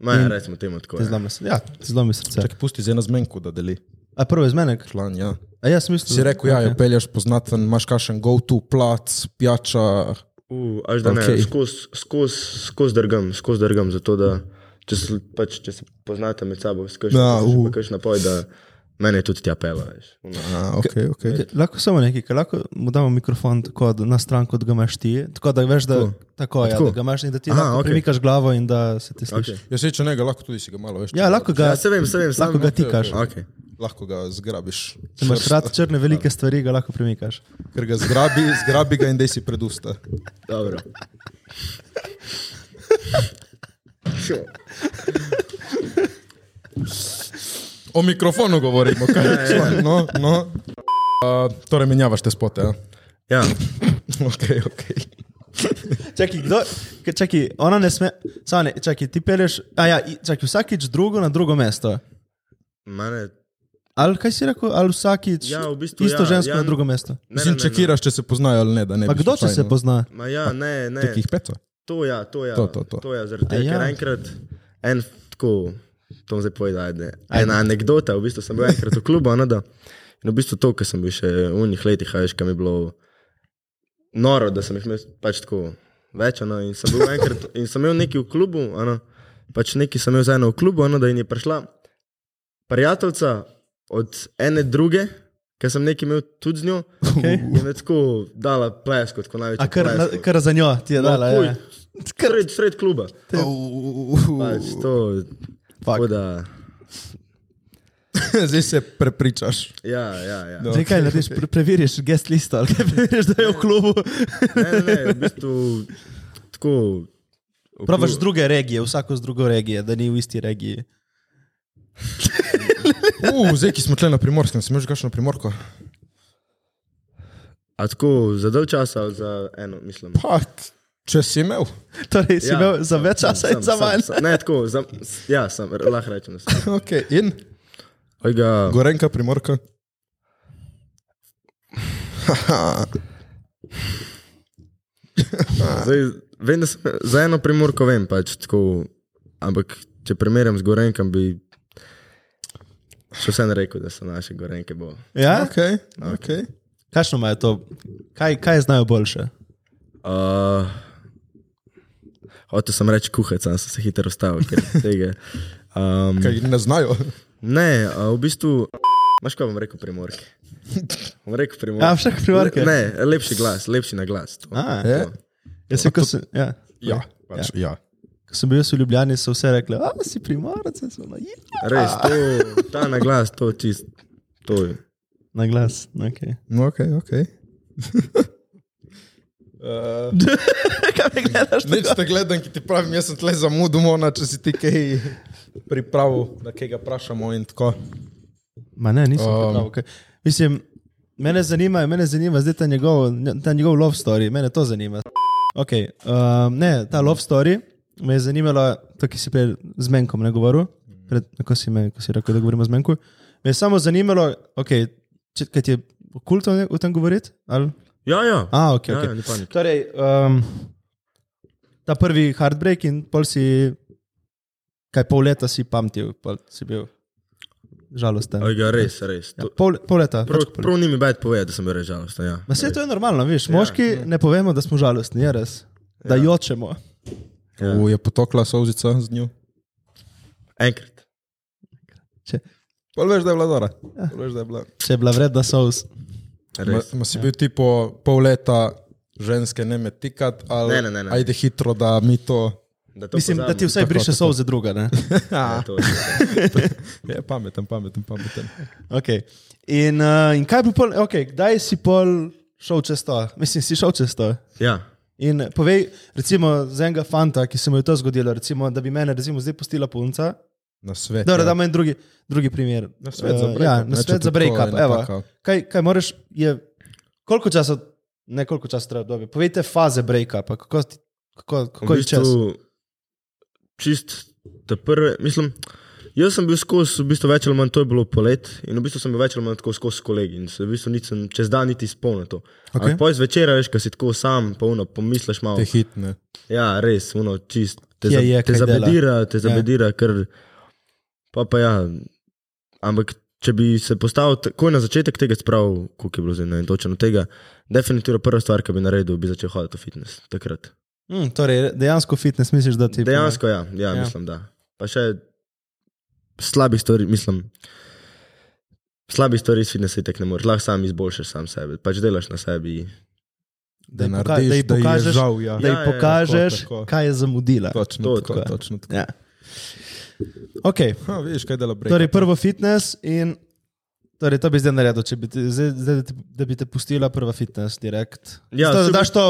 S2: Maja, recimo temu tako.
S4: Ti je
S2: Ja.
S4: zlomna srce. Ja, ti zlomi srce.
S1: Čakaj, pusti z eno zmenko, da deli.
S4: A prvi je zmenek?
S1: Član, ja.
S4: A jaz mislim.
S1: Si rekel, ja, jo pelješ poznaten, imaš kakšen go-to, plac, pijača.
S2: U, až da okay.
S1: Okej.
S2: ne, skozi skoz, skoz drgam, skoz drgam, zato da če se, pač, če se poznate med sabo,
S1: Ja, u.
S2: skoš na poj, da mene tudi tja pela. Veš, Ono,
S1: A, ok, ok.
S4: Ke- E, Lahko samo nekaj, ker lahko mu damo mikrofon tako da- na stran, kot ga imaš ti. Tako da veš, da, tako. Tako, ja,
S2: Tako?
S4: da ga imaš in da ti
S2: Aha,
S4: lahko
S2: okej.
S4: premikaš glavo in da se ti sliši.
S2: okej.
S1: Jaz se Ja, če ne, ga lahko tudi si ga malo več.
S4: Ja, lahko
S2: Ja,
S4: ga,
S2: se vem, se vem, sam.
S4: lahko ga tikaš.
S2: Okay.
S1: lahko ga zgrabiš.
S4: Če imaš
S1: Šrst,
S4: rad črne velike stvari, ga lahko premikaš.
S1: Ker ga zgrabi, zgrabi ga in dej si pred usta.
S2: Dobro. Šo.
S1: O
S2: ja,
S1: mikrofonu govorimo, kaj je član. No, no. Uh, torej menjavaš te spote. Ja?
S2: Ja,
S1: (laughs) okay, okay.
S4: Čakaj, kdo, k- čakaj, ona ne sme, samo ne, čakaj, ti peleš, a ja, i- čakaj, vsakič drugo na drugo mesto.
S2: mene.
S4: Ali kaj si rekel, ali vsakič
S2: Ja, v bistvu
S4: isto
S2: ja,
S4: žensko
S2: ja.
S4: na drugo
S2: Ne,
S4: mesto.
S2: ne,
S1: Mislim,
S2: ne, ne.
S1: čekiraš, če se poznajo ali ne. da ne
S4: Pa
S1: bi no.
S4: kdo če se
S1: slučajno-
S4: pozna?
S2: Ma ja, ne, ne.
S1: Takih peto.
S2: To ja, to ja.
S1: To, to, to.
S2: to ja, zaradi
S4: A
S2: tega, ja. ker
S4: ja.
S2: enkrat en tako, to bom zdaj povedal, ajde. ena anekdota, v bistvu sem bil enkrat v klubu, ne da. In v bistvu to, kar sem bil še v njih letih, a veš, kam je bilo noro, da sem jih imel pač tako več, ano, in sem bil enkrat, in sem imel neki v klubu, ano, pač neki sem imel za eno v klubu, ano, da in je prišla prijateljica od ene druge, ker sem neki imel tudi z njo,
S4: Okay.
S2: in je tako dala plesko, tako največ.
S4: A kar, na, kar za njo ti je
S2: No,
S4: dala, ja.
S2: Sred, sred kluba. Pač
S1: Pač.
S2: to, tako da,
S1: (laughs) Zdaj se prepričaš.
S2: ja, ja, ja.
S1: No.
S4: Zdaj kaj narediš, pre preveriš guest listo ali kaj (laughs) preveriš, da je v klubu.
S2: Ne, ne, ne, v bistvu tako. v
S4: Praviš z
S2: klubu-
S4: druge regije, vsako z drugo regije, da ni v isti regiji.
S1: Uh, zdaj, ki smo tle na primorskem, sem že kakšno primorko.
S2: A tako za dolg čas ali za eno, mislim.
S1: Pa, če si imel. (laughs)
S4: Torej si ja. imel za več časa
S2: Sam,
S4: in za
S2: sam,
S4: manj.
S2: sam. Ne, tako, za, ja, sam, r- lahko rečem. da sem.
S1: Okay. In
S2: Oj ga,
S1: gorenka, primorka.
S2: Zdaj, vem, da sem, za eno primorko vem, pač tako, ampak če primerjam z Gorenkom, bi še vse rekel, da so naše Gorenke bo.
S4: Ja?
S1: Okay, okay.
S4: Kakšno imajo to? Kaj, kaj znajo boljše?
S2: Uh, Hotel sem reči kuhati, sem se hitro ustavil, ker tega. Um,
S1: Kaj ne
S2: (laughs)
S1: znajo.
S2: ne, a v bistvu. Maš kaj bom rekel primorke? Bom rekel primorke.
S4: A, však primorke?
S2: Ne, lepši glas, lepši na glas. To.
S4: A, ja.
S1: Je?
S4: Jaz sem, ko sem, ja.
S1: Eh? Ja, pač, ja.
S4: Ko sem bil jaz v Ljubljani, so vse rekli, a si primorec, jaz sem na jih.
S2: Res, to, ta na glas, to čist. To je.
S4: Na glas, ok.
S1: No, ok, ok.
S4: (laughs) Kaj me gledaš?
S1: Nič te gledam, ki ti pravim, jaz sem tle zamudil, ona, če si ti kaj pripravil, da kaj ga vprašamo in tako.
S4: Ma ne, nisem
S1: Um.
S4: um. prav. Okay. Mislim, mene zanima, mene zanima zdaj ta njegov, ta njegov love story, mene to zanima. Okay, um, ne, ta love story me je zanimala, to, ki si prej z menkom ne govoril, pred, ko, si me, ko si rekel, da govorimo z menkom. Me je samo zanimalo, okay, če kaj ti je kulto ne- o tem govoriti? ali?
S2: Ja, ja.
S4: A, okay,
S2: ja,
S4: okay.
S2: ja, ni panike.
S4: Torej, um, ta prvi heartbreak in pol si, kaj pol leta si pamtil, pol si bil žalosten.
S2: Oj ga, res, res.
S4: Ja,
S2: To,
S4: pol, pol leta.
S2: prav,
S4: pač pol-
S2: prav ni mi bed povedati, da sem bil res žalosten. Ja.
S4: Ma vse to je normalno, veš. Moški ja, ne povemo, da smo žalostni, je res. Da ja. jočemo.
S2: Ja.
S1: U, je potokla sozica z njo.
S2: Enkrat.
S4: Če,
S1: Pa veš, da je bila dobra. Pol veš, da je bila.
S4: če je bila vredna sous.
S1: Ma,
S2: Res. ja.
S1: ma si bil ti po pol leta ženske ne me tikat, ali
S2: Ne, ne, ne, ne.
S1: ajde hitro, da mi to.
S2: Da to
S4: Mislim, da
S2: pozabim.
S4: ti vsaj
S1: Tako,
S4: briše
S1: tako.
S4: sous za druga. Ne?
S2: (laughs) Ja, to,
S1: Je Ja, pameten, pameten, pameten.
S4: Okay. In, uh, in kaj bi pol, okay, kdaj si pol šel čez to? Mislim, si šel čez to.
S2: ja.
S4: In povej, recimo, za enega fanta, ki se mu je to zgodilo, recimo, da bi mene recimo, zdaj pustila punca.
S1: Na svet.
S4: Dobro, da
S1: ja.
S4: imam en drugi, drugi primer.
S1: Na svet za
S4: Eh,
S1: break-up,
S4: Ja,
S1: ne,
S4: na
S1: če
S4: svet
S1: tudi
S4: za break-up.
S1: to je
S4: evo.
S1: napaka.
S4: Kaj, kaj moraš, je, koliko časa, ne koliko časa treba dobiti? Povejte faze break-upa, kako, ti- kako, kako
S2: V
S4: je čas.
S2: bistvu, čist te prve, mislim, jaz sem bil skozi, v bistvu več ali manj to je bilo polet in v bistvu sem bil več ali manj tako skozi s kolegi in se v bistvu nisem čez dan niti spomnil to. Okay.
S4: Okej.
S2: Poj zvečer, veš, ko si tako sam, pa uno, pomisliš malo.
S1: Te hitne.
S2: Ja, res, uno, čist. Te,
S4: Kje je,
S2: te
S4: kaj dela. Ja.
S2: zabedira, te zabedira, ker pa pa ja. Ampak če bi se postavil takoj na začetek tega, sprav, koliko je bilo zdaj, ne vem točno tega, definitivno prva stvar, ki bi naredil, bi začel hoditi v fitness takrat.
S4: Mm, torej, dejansko fitness misliš, da ti
S2: Dejansko, ja, ja,
S4: Ja.
S2: ja, mislim, da. Pa še slabih stvari, mislim. Slabih stvari iz fitnessa tek ne moreš, lahko sam izboljšaš sam sebe, pač delaš na sebi.
S1: Da,
S4: ji
S1: da,
S4: poka-
S1: narediš,
S4: da
S1: da,
S4: ji
S1: ji
S4: pokažeš,
S1: je žal, ja.
S4: da
S2: Ja,
S4: ji
S2: ja, ja,
S4: pokažeš,
S1: tako, tako.
S4: kaj je zamudila.
S1: Točno,
S2: to,
S1: tako,
S2: tako.
S1: točno tako.
S4: Ja. Okay.
S1: Ha, vidiš, kaj dela break.
S4: Torej, prvo fitness in torej, to bi zdaj naredil, če bi ti, zdaj, zdaj, da ti- da bi te pustila prva fitness direkt.
S2: Ja,
S4: to, da
S2: saj bi-
S4: daš to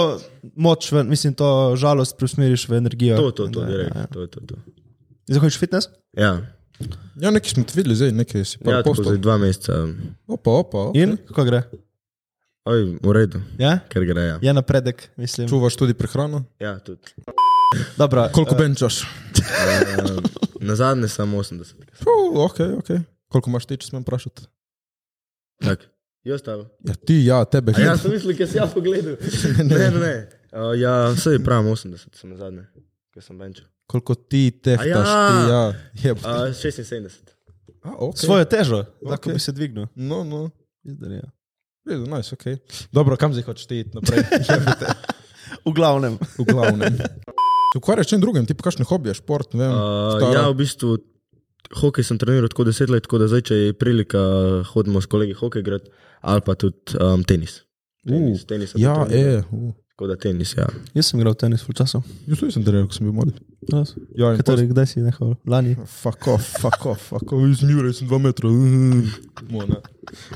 S4: moč, ven, mislim, to žalost preusmeriš v energijo.
S2: To, to, to,
S4: Da,
S2: direkt.
S4: ja, ja.
S2: To, je to, to.
S4: Zahojiš fitness?
S2: Ja,
S1: Ja, nekaj smo te videli, zdaj nekaj si pa
S2: ja
S1: ja,
S2: tako
S1: postal.
S2: za dva meseca.
S1: Opa, opa. opa.
S4: In kako gre?
S2: Oj, v redu,
S4: Ja?
S2: ker gre. Ja,
S4: Je napredek, mislim.
S1: Čuvaš tudi prehrano?
S2: ja tudi.
S4: Dobra, eh,
S1: Koliko
S2: E.
S1: benčaš?
S2: Uh, na zadnje samo 80.
S1: Uh, ok, ok. Koliko imaš ti, če smem vprašati?
S2: Tak. Jo stalo.
S1: Ja, ti, ja, tebe.
S2: A ja, sem mislil, ker si ja
S4: (laughs)
S2: pogledal. ne, ne, ne. Uh, ja, vse je pravim 80, sem na zadnje, ker sem benčal.
S1: Koliko ti tehtaš,
S2: A ja.
S1: ti, ja. Jeb. A,
S2: Uh, 76.
S1: okay.
S4: svojo težo, lahko
S1: Okej.
S4: bi se dvignil.
S1: No, no.
S4: Izdar, ja.
S1: Redu, nice, okay. Dobro, kam zdaj hočeš ti iti (laughs) naprej? Jebite,
S4: V glavnem.
S1: v glavnem. Se ukvarjaš s čim drugim, ti pa kakšne hobije, šport, ne vem.
S2: Uh,
S1: staro?
S2: ja, v bistvu hokej sem treniral tako deset let, tako da zdaj, če je prilika, hodimo s kolegi hokej igrati ali pa tudi um, tenis. Tenis, tenis sem
S1: ja,
S2: tudi treniral,
S1: e, uh.
S2: Tako da tenis, ja.
S4: Jaz sem igral tenis v času.
S1: Jaz tudi sem delal, ko sem bil mlad. Ja, in
S4: Kateri, kdaj si nehal? Lani.
S1: Fuck off, fuck off, fuck off, iz Mure sem dva metra. mm. Mo, ne.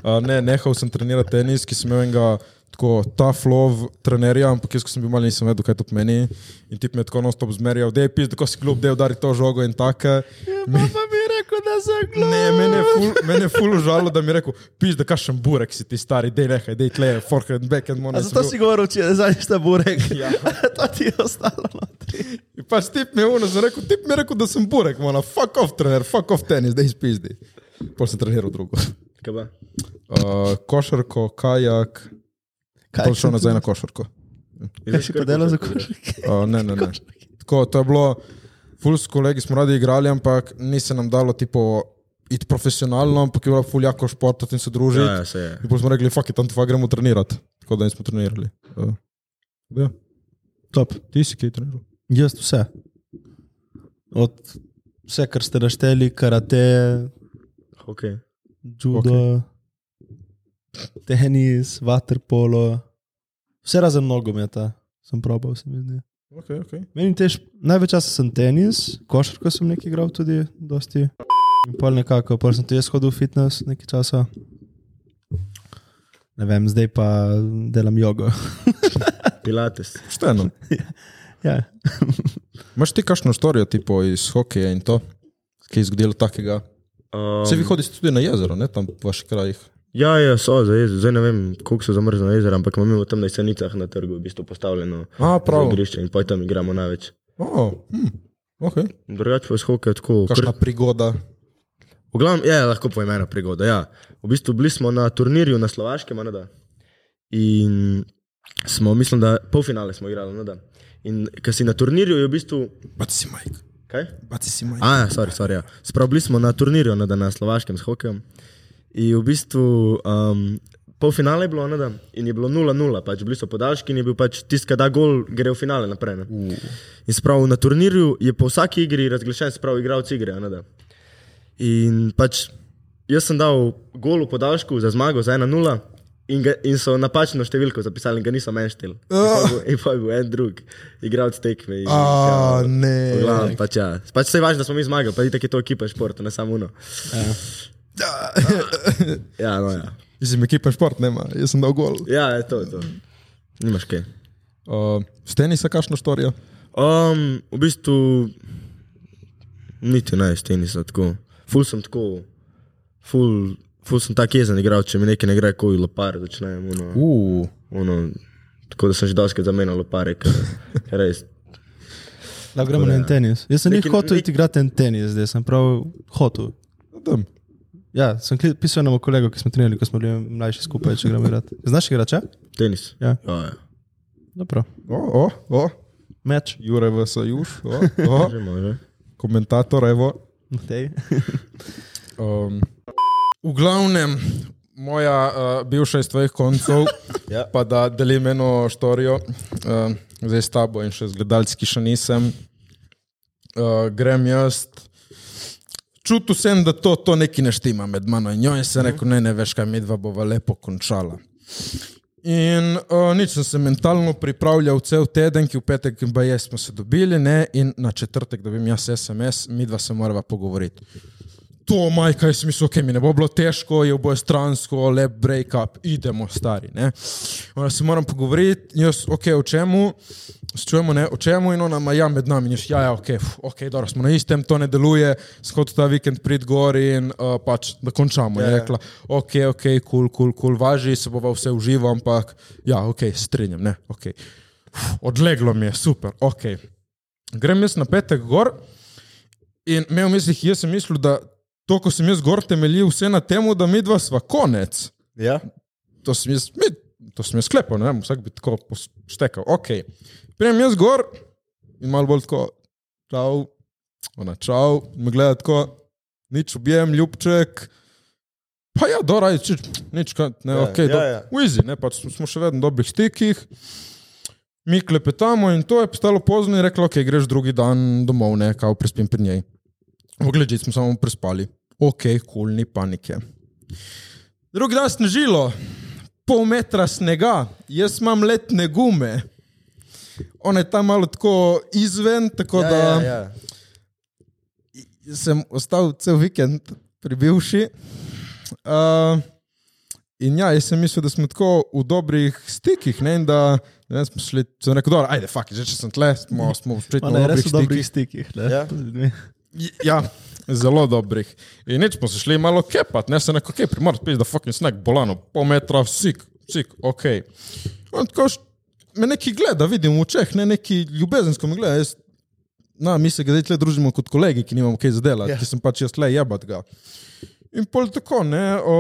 S1: A, ne, nehal sem trenirati tenis, ki sem imel enega tako tough love trenerja, ampak jaz, ko sem bil mali, nisem vedel, kaj to pomeni. In ti me je tako non-stop zmerjal, da je pis, da ko si klub, da je udari to žogo in tako.
S4: Papa mi je rekel, da sem
S1: Ne, mene je ful- mene je ful užalo, da mi je rekel, pis, da kašem burek si ti stari, dej nehaj, dej tle, forehand, backhand,
S4: A
S1: mono.
S4: zato si govoril, če je zadnjič ta burek. (laughs)
S1: Ja.
S4: to ti je ostalo no. notri.
S1: Pač tip mi je uno, sem rekel, tip mi je rekel, da sem burek, mono, fuck off trener, fuck off tenis, dej spizdi. Pol sem treniral drugo. (laughs)
S2: Kaj pa?
S1: Uh, košarko, kajak, pol šel nazaj na košarko.
S4: (laughs) Kaj si pa delal za košarke?
S1: Uh, ne, ne, ne. Tako, to je bilo, ful s kolegi smo radi igrali, ampak ni se nam dalo tipo iti profesionalno, ampak je bilo ful jako športati in se družiti.
S2: Ja, ja, se je.
S1: In potem smo rekli, fuck it, tam dva gremo trenirati. Tako da nismo trenirali. Uh, ja.
S4: Top.
S1: Ti si kaj treniral?
S4: Jaz vse. Od vse, kar ste našteli, karate,
S2: Hokej.
S4: judo, okay. tenis, waterpolo, vse razen nogometa. Sem probal, se mi zdi.
S1: Okay, okay.
S4: Meni tež, največ časa sem tenis, košarko sem nekaj igral tudi, dosti. In pol nekako, pol sem tudi jaz hodil v fitness nekaj časa. Ne vem, zdaj pa delam jogo. (laughs)
S2: Pilates.
S1: Šteno.
S4: ja.
S1: Imaš ti kakšno storijo tipo iz hokeja in to, ki je zgodilo takega?
S2: Um,
S1: Se vi hodite tudi na jezero, ne tam v vaših krajih?
S2: Ja, ja, so za jezero. Zdaj ne vem, koliko so zamrznjena jezera, ampak imamo tam na jesenicah na trgu v bistvu postavljeno
S1: A, prav.
S2: za igrišče in pa tam igramo največ.
S1: Oh, hm, okay.
S2: Drugače pa je s hokejem tako. kar-
S1: Kakšna prigoda?
S2: V glavnem, je lahko poimena prigoda. Ja. V bistvu bili smo na turnirju na Slovaškem, a ne da. In smo, mislim, da polfinale smo igrali, a ne da. In kaj si na turnirju je v bistvu.
S1: Baci si majk,
S2: Kaj?
S1: baci si majk.
S2: A, ja, sorry, sorry. Ja. Sprav bili smo na turnirju, a ne da na Slovaškem s hokejem. In v bistvu. Um, Polfinale je bilo, a ne da, in je bilo 0-0, pač bili so podaljški in je bil pač tisti, ki da gol, gre v finale naprej. Ne? In sprav na turnirju je po vsaki igri razglašen, sprav igralci igre, a ne da. In pač jaz sem dal gol v podaljšku za zmago za 1-0 in, ga- in so napačno številko zapisali in ga niso meni štel. In pa je bil en drug, igralec tekme. in
S1: A,
S2: ja,
S1: ne.
S2: v glavnem, Pač, ja. pač se je važno, da smo mi zmagali, pa itak je to ekipa športa, ne samo uno. Ja, no, ja.
S1: (laughs) Mislim, ekipa šport nema, jaz sem dal gol.
S2: ja, je to je to. Nimaš kaj.
S1: Uh, s tenisa kakšno storijo?
S2: Um, v bistvu niti ne, s tenisa tako. Ful sem tako, ful, ful sem tak jezen igral, če mi nekaj ne gre, ko je lopar, začnem. Ono,
S1: Uh.
S2: ono, tako da sem že doskrat zamenjal lopare, ker ker res.
S4: Da gremo na en tenis. Jaz sem
S2: Neki-
S4: jih hotel iti igrati en tenis, zdaj sem prav hotel.
S1: Tam.
S4: Ja, sem kli- pisal enemu kolegu, ki smo trenirali, ko smo bili mlajši skupaj, če gremo igrati. Znaš igrače?
S2: Tenis.
S4: Ja.
S2: Ja, ja.
S4: Dobro.
S1: O, o, o.
S4: Meč.
S1: Jure v Sajuš, o, (laughs) o.
S2: Že može.
S1: komentator, evo.
S4: Matej.
S1: Um, v glavnem, moja uh, bivša iz tvojih koncev, ja. pa da delim eno štorijo, uh, zdaj s tabo in še z gledalci, ki še nisem. Uh, grem jaz. Čutil sem, da to, to nekaj ne štima med mano in njo, in sem rekel, ne, ne veš, kaj medva bova lepo končala. In uh, nič sem se mentalno pripravljal cel teden, ki v petek in baje smo se dobili, ne, in na četrtek dobim jaz SMS, midva se morava pogovoriti to, maj, kaj si mislil, okay, mi ne bo bilo težko, je oboje stransko, le break up, idemo, stari. Ne? Ona se moram pogovoriti, jaz, ok, o čemu, se čujemo, ne, o čemu in ona, ma ja, med nami, jaz, ja, ja, ok, f, ok, dobro, smo na istem, to ne deluje, shod ta vikend prid gor in uh, pač, da končamo. Je rekla, ok, ok, kul, kul, kul, važi, se bova vse uživa, ampak ja, ok, strinjam, ne, ok. Uf, odleglo mi je, super, ok. Grem jaz na petek gor. In imel v mislih, jaz sem mislil, da to, ko sem jaz gor temeljil, vse na tem, da mi dva sva konec.
S2: Ja?
S1: To sem jaz, mi, to sem jaz sklepal, ne vem, vsak bi tako poštekal. Ok, prijem jaz gor in malo bolj tako, čau, ona čau, in me gleda tako, nič objem, ljubček. Pa ja, dobro, ajde, čič, nič, kaj, ne,
S2: Ja,
S1: ja, ok,
S2: ja,
S1: ja, do,
S2: ja.
S1: ja. v izi, ne, pač smo še vedno v dobrih stikih. Mi klepetamo in to je postalo pozno in rekla, ok, greš drugi dan domov, ne, kao prespim pri njej. Poglej, smo samo prespali. Ok, kul, cool, ni panike. Drugi dan snežilo, pol metra snega, jaz imam letne gume. On je tam malo tako izven, tako
S2: Ja,
S1: da
S2: ja, ja.
S1: sem ostal cel vikend pri bivši. Uh, in ja, jaz sem mislil, da smo tako v dobrih stikih. Ne, in da ne vem, smo šli, sem rekel, dobro, ajde, fuck, že če sem tle, smo, smo spet
S4: Ma
S1: na
S4: ne, res v
S1: dobrih
S4: dobrih
S1: stikih.
S4: stikih.
S2: Ja.
S4: Ja.
S1: Ja, zelo dobrih. In nič smo se šli malo kepat, ne se neko, ok, primor, spet da fucking snack, bolano, pol metra, sik, sik, ok. On tako, š- me neki gleda, vidim v očeh, ne neki ljubezensko me gleda. Jaz, na, mi se ga zdaj tle družimo kot kolegi, ki nimamo kaj zadela,
S2: Ja.
S1: yeah. ki sem pač jaz le jebat ga. In pol tako, ne. O,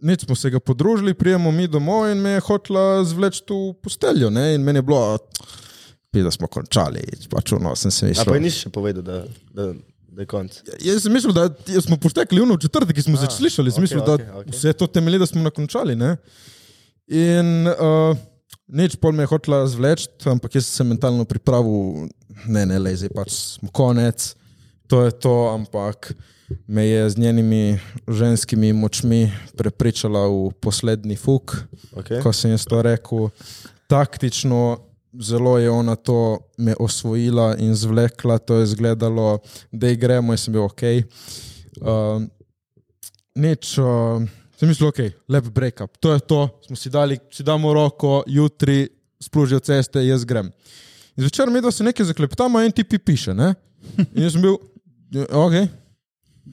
S1: Nič smo se ga podružili, prijemo mi domov in me je hotla zvleči v posteljo. Ne? In meni je bilo, da smo končali, pač ono sem se
S2: A pa
S1: mislil.
S2: ji nisi še povedal, da, da, da je konc.
S1: Jaz sem mislil, da jaz smo poštekli uno v četrtek, ki smo se slišali,
S2: okej,
S1: okay, mislil, da
S2: okej,
S1: okay,
S2: okej.
S1: okay. vse to temelji, da smo nakončali. Ne? In uh, nič pol me je hotla zvleči, ampak jaz sem se mentalno pripravil, ne, ne, lezi, pač smo konec, to je to, ampak me je z njenimi ženskimi močmi prepričala v poslednji fuk
S2: Okay?
S1: ko sem jaz to rekel, taktično. Zelo je ona to me osvojila in zvlekla, to je izgledalo, da gremo in sem bil ok. Uh, nič, uh, sem mislil, ok, lep break-up, to je to, smo si dali, si damo roko, jutri splužijo ceste, jaz grem. In zvečer mi da se nekaj zaklepetamo, en tipi piše, ne? In jaz sem bil, ja, ok,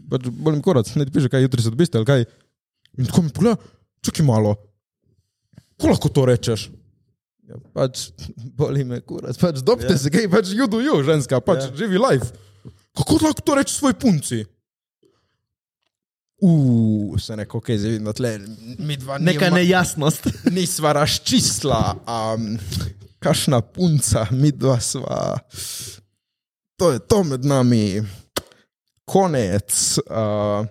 S1: pač bolim korac, ne ti piše, kaj jutri se odbiste ali kaj. In tako mi pogleda, čakaj malo, ko lahko to rečeš? Ja, pač, boli me, kurat, pač dobite yeah. se, kaj pač judo ju, ženska, pač
S2: Ja.
S1: yeah. živi life. Kako lahko to rečeš svoji punci? Uuu, se neko, kaj zdaj vidim, da tle, mi dva
S4: Neka
S1: nima-
S4: nejasnost.
S1: nisva razčistila, um, kašna punca, mi dva sva. To je to med nami, konec. Uh,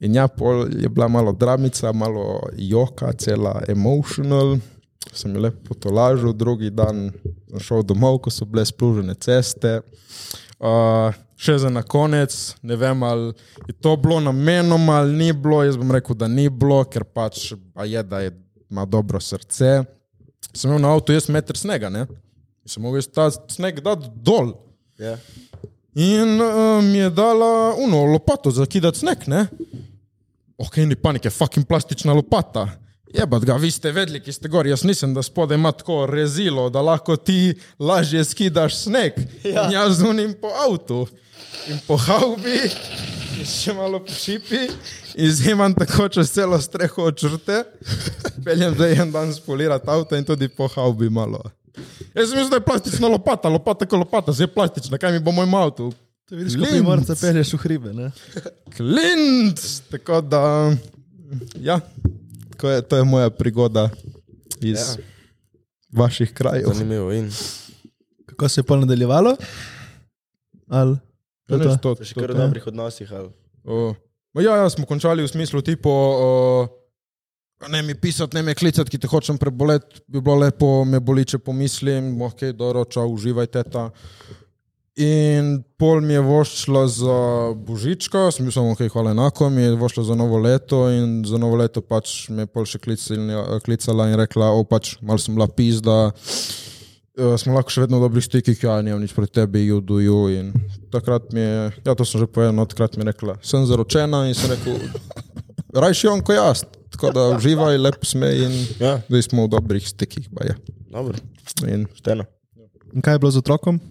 S1: in ja, pol je bila malo dramica, malo joka, cela emotional. Sem jo lepo potolažil, drugi dan sem šel domov, ko so bile splužene ceste. Uh, še za na konec, ne vem, ali je to bilo namenoma ali ni bilo. Jaz bom rekel, da ni bilo, ker pač a je, da je, ima dobro srce. Sem imel na avtu jaz meter snega, ne? In Sem mogel jaz ta sneg dati dol.
S2: Ja.
S1: In uh, mi je dala uno lopato za kidati sneg, ne? Ok, ni panike, fucking plastična lopata. Jebat ga, vi ste vedeli, ki ste gor, jaz nisem, da spodaj ima tako rezilo, da lahko ti lažje skidaš sneg. Ja. In jaz zunim po avtu in po havbi, in še malo po šipi, in zimam tako čez celo streho od črte. Peljem zdaj en dan spolirati avto in tudi po havbi malo. Jaz sem mislil, da je plastična lopata, lopata kot lopata, zdaj je plastična, kaj mi bo moj avto?
S4: To vidiš,
S1: Linz.
S4: ko primorca pelješ v hribe. Ne?
S1: Klint! Tako da, ja, tako je, to je moja prigoda iz ja. vaših krajev.
S2: Zanimivo. In
S4: Kako se je pol nadaljevalo? Al,
S1: To nič, to,
S2: to še
S1: to,
S2: kar
S1: to.
S2: v dobrih odnosih. Ali?
S1: Uh, ma ja, ja, smo končali v smislu tipo. Uh, Ne mi pisati, ne mi klicati, ki te hočem preboleti, bi bilo lepo, me boli, če pomislim, ok, dobro, čau, uživajte ta. In pol mi je vošlo za božička, sem bil samo, ok, hvala enako, mi je vošlo za novo leto in za novo leto pač me je pol še klicila, klicala in rekla, o pač mal sem bila pizda eh, smo lahko še vedno v dobrih stikih, ja, nimam nič proti tebi, you do you. In takrat mi je, ja, to sem že povedal, no, takrat mi je rekla, sem zaročena in sem rekel, rajši on kot jaz. Tako da uživaj, lep smej in
S2: Ja.
S1: zdaj smo v dobrih stikih. baje.
S2: Dobro,
S1: In
S2: šteno.
S4: In kaj je bilo z otrokom?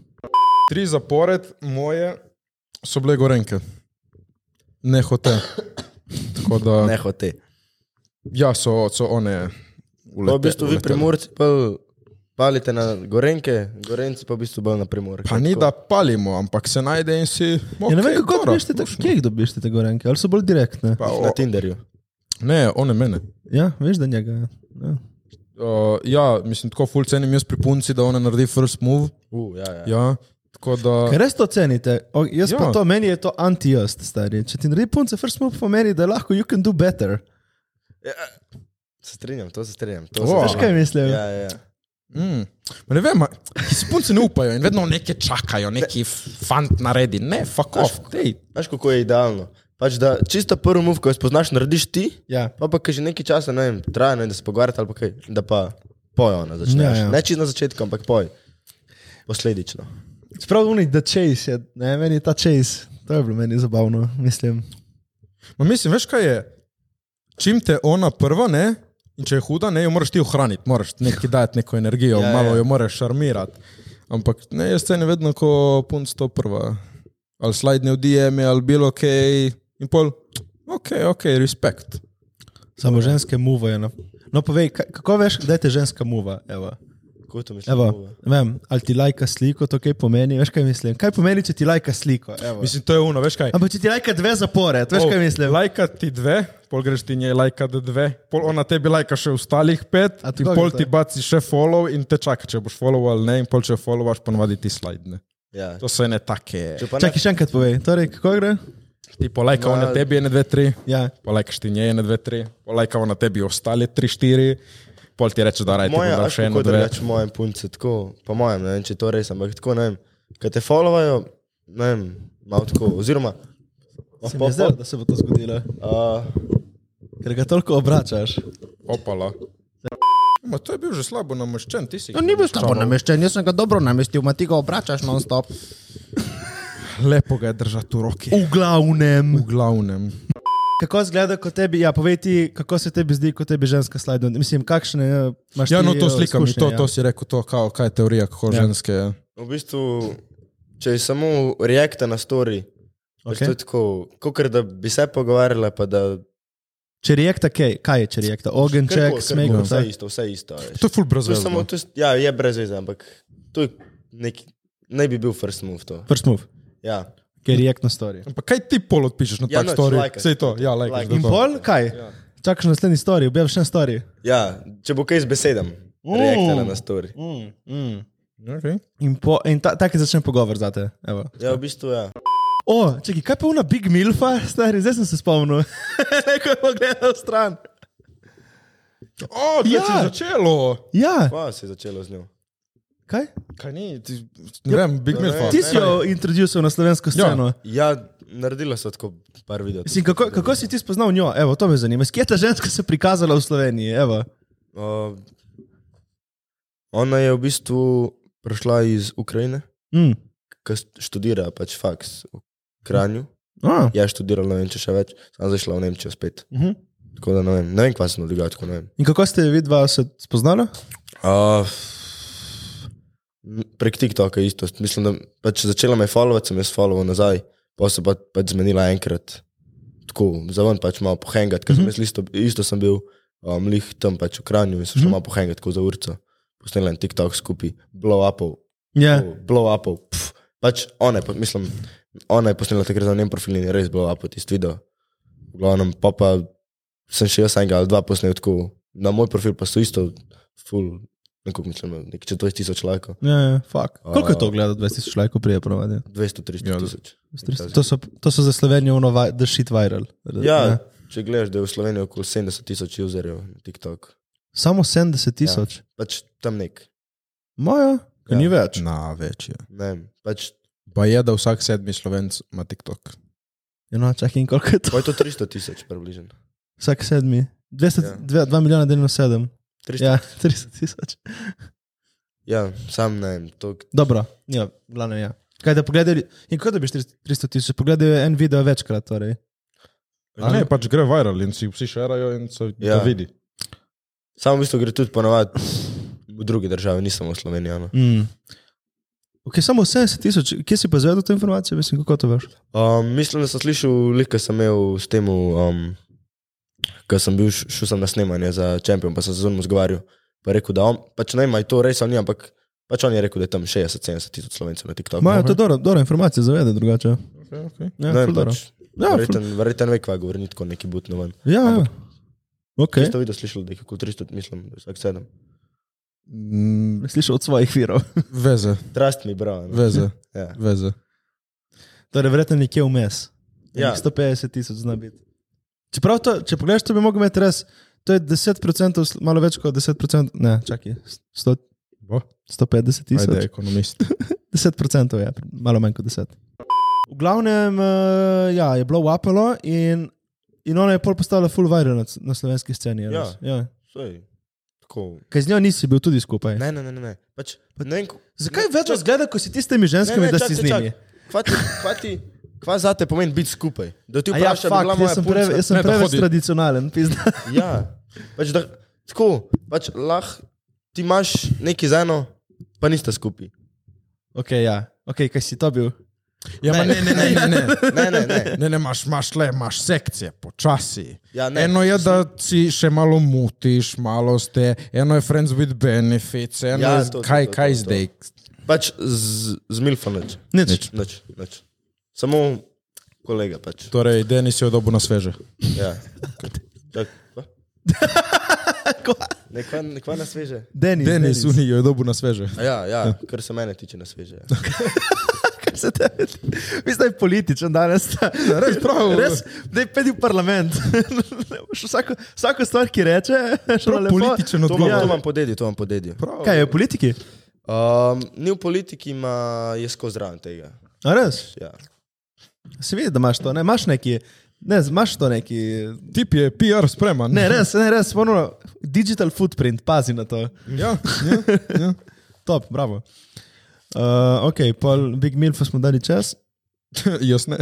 S1: tri zapored moje so bile gorenke. Ne hote. Tako da,
S2: Ne hote.
S1: ja, so, so one. Ulete,
S2: To v bistvu vi primorci pa palite na gorenke, gorenci pa v bistvu bolj na primorke.
S1: Pa ni da palimo, ampak se najde in si. Okay,
S4: Ja, ne vem, kako
S1: dobro,
S4: dobiš te,
S1: lušno.
S4: kje jih dobiš te te gorenke, ali so bolj direktne?
S1: Pa, o,
S2: Na Tinderju.
S1: ne, one mene.
S4: Ja, veš, da njega. ja. Ja.
S1: Uh, ja, mislim, tako full cenim jaz pri punci, da ona naredi first move.
S2: Uh, ja, ja.
S1: Ja, tako da.
S4: Ker res to cenite. O, jaz ja.
S1: Ja.
S4: pa to, meni je to anti-jaz, stari. Če ti naredi punce, first move pomeni, da lahko you can do better.
S2: Se strinjam, to se strinjam. To
S1: Wow.
S2: se
S4: Veš,
S2: strinjam.
S4: kaj mislim?
S2: Ja, ja, ja.
S1: Mm. Ma Ne vem, ma- si punci ne upajo in vedno nekaj čakajo, neki f- fant naredi. Ne, fuck off. Dej.
S2: Veš, kako je idealno. Pač da čisto prvi muf, ko jo spoznaš, narediš ti,
S4: Ja.
S2: pa pa kaže nekaj časa, ne vem, traja, ne, vem, da se pogovarjate ali pa kaj, da pa poje ona začne.
S4: Ja,
S2: Ja,
S4: ja.
S2: ja. Ne čisto na začetku, ampak poj. Posledično.
S4: Čeprav unik, da chase je, ne, meni je ta chase, to je bilo meni zabavno, mislim.
S1: Ma mislim, veš kaj je? Čim te ona prva, ne? In če je huda, ne, jo moraš ti ohraniti, moraš neki dati neko
S4: (laughs)
S1: energijo, ja,
S2: Ja,
S1: malo
S2: ja.
S1: jo moraš šarmirati. Ampak ne, jaz cenim vedno, ko punc to prva. Ali slidne v DM, ali bilo ok, in pol, ok, ok, respekt.
S4: Samo ženske muvajo. Na... No, povej, ka- kako veš, da je te ženska muva? Evo.
S2: Kako to misliš?
S4: Evo, vem, ali ti lajka sliko, to kaj pomeni, veš kaj mislim. Kaj pomeni, če ti lajka sliko? Evo.
S1: Mislim, to je uno, veš kaj?
S4: Ampak če ti lajka dve zapored, veš
S5: Oh,
S1: Pol
S4: kaj mislim.
S1: Lajka ti dve, pol greš ti njej lajka dve, pol ona tebi lajka še ostalih pet,
S4: A
S1: in
S4: tako
S1: pol
S4: gre to?
S1: ti baci še follow in te čaka, če boš follow ali ne, in pol če followaš, ponovadi ti slidne.
S2: Ja.
S1: To so ene take.
S2: Če pa ne,
S4: Čakaj, še enkrat povej, torej, kako gre?
S1: Ti polajka ona tebi ene, dve, tri,
S4: Ja.
S1: polajkaš ti nje ene, dve, tri, polajka ona tebi ostale tri, štiri, pol ti reče, da raje ti
S2: moja,
S1: bo
S2: veš,
S1: še eno,
S2: kako
S1: dve.
S2: drugače mojem punce, tako, po mojem, ne vem, če je to res, ampak tako, ne vem, kad te followajo, ne vem, malo tako, oziroma, oh,
S4: Se mi
S2: po, po,
S4: je zdelo, da se bo to zgodilo,
S2: uh,
S4: ker ga toliko obračaš.
S1: Opala. Ma to je bil že slabo nameščen, ti si.
S5: No, ni bil slabo nameščen, jaz sem ga dobro namestil, ma ti ga obračaš non-stop.
S1: Lepo ga je držati v roki.
S4: V glavnem.
S1: V glavnem.
S4: Kako izgleda, ko tebi, ja, povej ti, kako se tebi zdi, ko tebi ženska slajda? Mislim, kakšne eh, imaš
S2: Pač
S1: Ja,
S4: ti,
S1: no to
S4: eh,
S1: slikam,
S4: izkušnje,
S1: to,
S4: ja.
S1: to si rekel, to, kao, kaj je teorija, kako
S4: Ja.
S1: ja. ženske.
S2: v bistvu, če je samo reakta na story, okay.
S4: Okej.
S2: to je tako, kot da bi se pogovarjala, pa da,
S4: Če reakta, kaj, kaj je če reakta? Ogenček, smeg,
S2: kar,
S4: vse.
S2: vse isto, vse isto. veš.
S1: no. To je ful
S2: To je
S1: brezvezno.
S2: samo, to je, ja, je brez veze, ampak to je nek, naj bi bil first move to.
S4: First move,
S2: Ja.
S4: ker je reaktno story.
S1: Ampak kaj ti pol odpišeš na
S2: Ja,
S1: tak
S2: noč,
S1: story?
S2: lajkaš.
S1: Sej to, ja, lajkaš.
S2: Lajkaš.
S1: da
S4: In
S1: to.
S4: pol, kaj? Čakaš na naslednji story, objaviš še en story.
S2: ja, če bo kaj z besedami, reaktala na story.
S1: Okay.
S4: In, po, in ta, taki začne pogovor zate. Evo.
S2: Ja, v bistvu, ja.
S4: O, čakaj, kaj pa una Big Milfa, stari, zdaj sem se spomnil. Neko je pogledal stran.
S1: O, ja.
S4: Ja.
S1: se je začelo.
S4: Ja,
S2: Pa se je začelo z njo.
S4: kaj?
S1: Kaj ni, ti, ne vem, Big
S2: ne,
S1: Milfa.
S4: Ti si jo introduciral na slovensko sceno. Ja.
S2: Ja, naredila so tako par videov.
S4: Mislim, kako, kako si ti spoznal njo? Evo, to me zanima. Kje je ta ženska se prikazala v Sloveniji? Evo.
S2: Uh, ona je v bistvu prišla iz Ukrajine,
S4: Mm.
S2: ki študira pač faks v Kranju.
S4: Ah.
S2: Ja, študirala, ne vem, če še več, sem zdaj šla v Nemčijo spet.
S4: Uh -huh.
S2: Tako da ne vem, ne vem, kva se nadiga, tako ne vem.
S4: In kako ste vidva se spoznala?
S2: Uh, prek TikToka je isto. Mislim, da pač začela me followati, sem jaz followal nazaj, pa se pa pač zmenila enkrat. Tako, za ven pač malo pohengati, ker sem jaz isto, isto sem bil um, lih tam pač v Kranju in sem šel malo pohengati, tako za urco. Posnela en TikTok skupaj, blow upov,
S4: Ja.
S2: tako, blow upov. pf. Pač ona je, pa- mislim, ona je posnela takrat za njen profil in je res blow upov tisti video. V glavnem pa pa sem še jaz enega ali dva posnel tako, na moj profil pa so isto, full, nekako mislim, nek 14 tisoč lajkov.
S4: Ja, ja, fuck. Koliko je to
S2: A-
S4: gleda 20 lajkov prije provadi?
S2: 200-300
S1: Ja, da-
S2: tisoč.
S4: To so, to so za Slovenijo ono vi- the shit viral.
S2: Ja,
S4: Ne?
S2: če gledaš, da je v Sloveniji okoli 70 tisoč userjev na TikTok.
S4: Samo 70 tisoč. Ja.
S2: Pač tam nek,
S4: Moja? Ja.
S2: Ja.
S4: Ni več.
S1: Na več je.
S2: ne vem, pač,
S1: Pa je, da vsak sedmi slovenc ima TikTok.
S4: Ja, no, čakaj, in koliko je to?
S2: pa je to 300 tisoč približno.
S4: Vsak sedmi. 200,
S2: Ja.
S4: ja. (laughs) 2, 2 milijona delno sedem.
S2: 300.
S4: Ja, 300 tisoč.
S2: Ja, sam ne vem, to
S4: Dobro, ja, glavno ja. Kaj da pogledaj, in kako dobiš 300 tisoč, pogledaj en video večkrat. Torej.
S1: A ne, pač gre viral in si vsi šerajo in se ja.
S2: Ja.
S1: vidi.
S2: Samo v bistvu gre tudi ponavadi v druge države, ni samo v Sloveniji. no.
S4: Mm. Ok, samo 70 tisoč, kje si pa zvedel to informacijo, mislim, kako to veš?
S2: Um, mislim, da sem slišal, lika sem imel s tem, um, ko sem bil, š- šel sem na snemanje za Champion, pa sem se z njim zgovarjal. Pa je rekel, da on, pač ne ima to res, on ni, ampak pač on je rekel, da je tam 60-70 tisoč slovencev na TikToku.
S4: Imajo ja, to dobro, dobro informacijo, zavede drugače. Ja,
S1: Okay, okay.
S2: Ne vem,
S4: ful dobro.
S2: pač,
S4: Ja, ful-
S2: verjeten, verjeten ve, kva govori, ni tako neki butno ven.
S4: ja, ja. Ok.
S2: Kaj ste videli, slišali, da je kot 300, mislim, da je vsak sedem.
S1: Mm,
S4: Slišal od svojih virov.
S1: veze,
S2: Trust mi, bravo. no.
S1: veze,
S2: Ja.
S1: veze.
S4: Torej, verjetno nekje vmes. Ja.
S2: Ja.
S4: 150 tisoč zna biti. Čeprav, to, če pogledaš, to bi mogel imeti res, to je 10%, sl- malo več kot 10%, ne, čakaj, 100,
S1: Bo?
S4: 150
S1: Ajde,
S4: tisoč.
S1: ekonomist.
S4: 10% je, malo manj kot 10. V glavnem, eh, ja, je bilo uapalo in, in ona je pol postala full viral na, c- na slovenski sceni. je res. ja.
S2: Saj, Tako.
S4: Kaj z njo nisi bil tudi skupaj?
S2: Ne, ne, ne, ne, ne. Pač, ne vem, ko- Pač,
S4: Zakaj
S2: ne,
S4: več
S2: čak-
S4: razgleda, ko si tistimi ženskami, da si z njimi?
S2: Kvati, kvati, kva za te pomeni biti skupaj. Da ti
S4: A Ja,
S2: vprašaš, ja,
S4: fakt,
S2: bila
S4: jaz
S2: moja
S4: sem,
S2: punca.
S4: pre, jaz sem
S1: Ne, da
S4: preveč
S1: hodi.
S4: tradicionalen, (laughs) pizda.
S2: Ja, pač da, tako, pač lahko ti imaš nekaj za eno, pa niste skupaj.
S4: Ok, ja. Ok, kaj si to bil?
S1: (laughs) Ja, ne, ne, ne, ne, ne.
S2: Ne, ne, ne.
S1: Ne, ne, imaš, imaš le, imaš sekcije, počasi.
S2: Ja, ne.
S1: eno je, da si še malo mutiš, malo ste, eno je friends with benefits, eno
S2: Ja,
S1: ja, je,
S2: to, to,
S1: kaj,
S2: to, to,
S1: kaj
S2: to.
S1: zdaj.
S2: Pač z, z Milfom nič.
S4: Nič.
S2: Nič, nič. Samo kolega pač.
S1: Torej, Denis je odobo na sveže.
S2: Ja. Tak,
S4: (laughs)
S2: kva? Nekva, nekva na sveže.
S4: Denis,
S1: Denis,
S4: (laughs)
S1: Uni je odobo na sveže.
S2: A Ja, ja, kar se mene tiče na sveže. ja.
S4: kar se tebe tiče. Vi ste političen danes. Ja, Res prav. (laughs) Res, da je pedi v parlament. (laughs) vsako, vsako stvar, ki reče, (laughs) šlo lepo.
S1: Političen
S2: To imam,
S4: Ja.
S2: to
S1: odgovor.
S2: imam podedi, to imam podedi.
S4: Kaj je v politiki?
S2: Um, ni v politiki, ima je skozi zraven tega.
S4: A res?
S2: Ja.
S4: Se vidi, da imaš to, ne? Imaš neki, ne, imaš to neki.
S1: Tip je PR spreman.
S4: Ne, res, ne, res, ponovno, digital footprint, pazi na to.
S1: Ja, ja, ja.
S4: Top, bravo. Uh, ok, pol Big Milfu smo dali čas.
S1: (laughs) Jaz ne.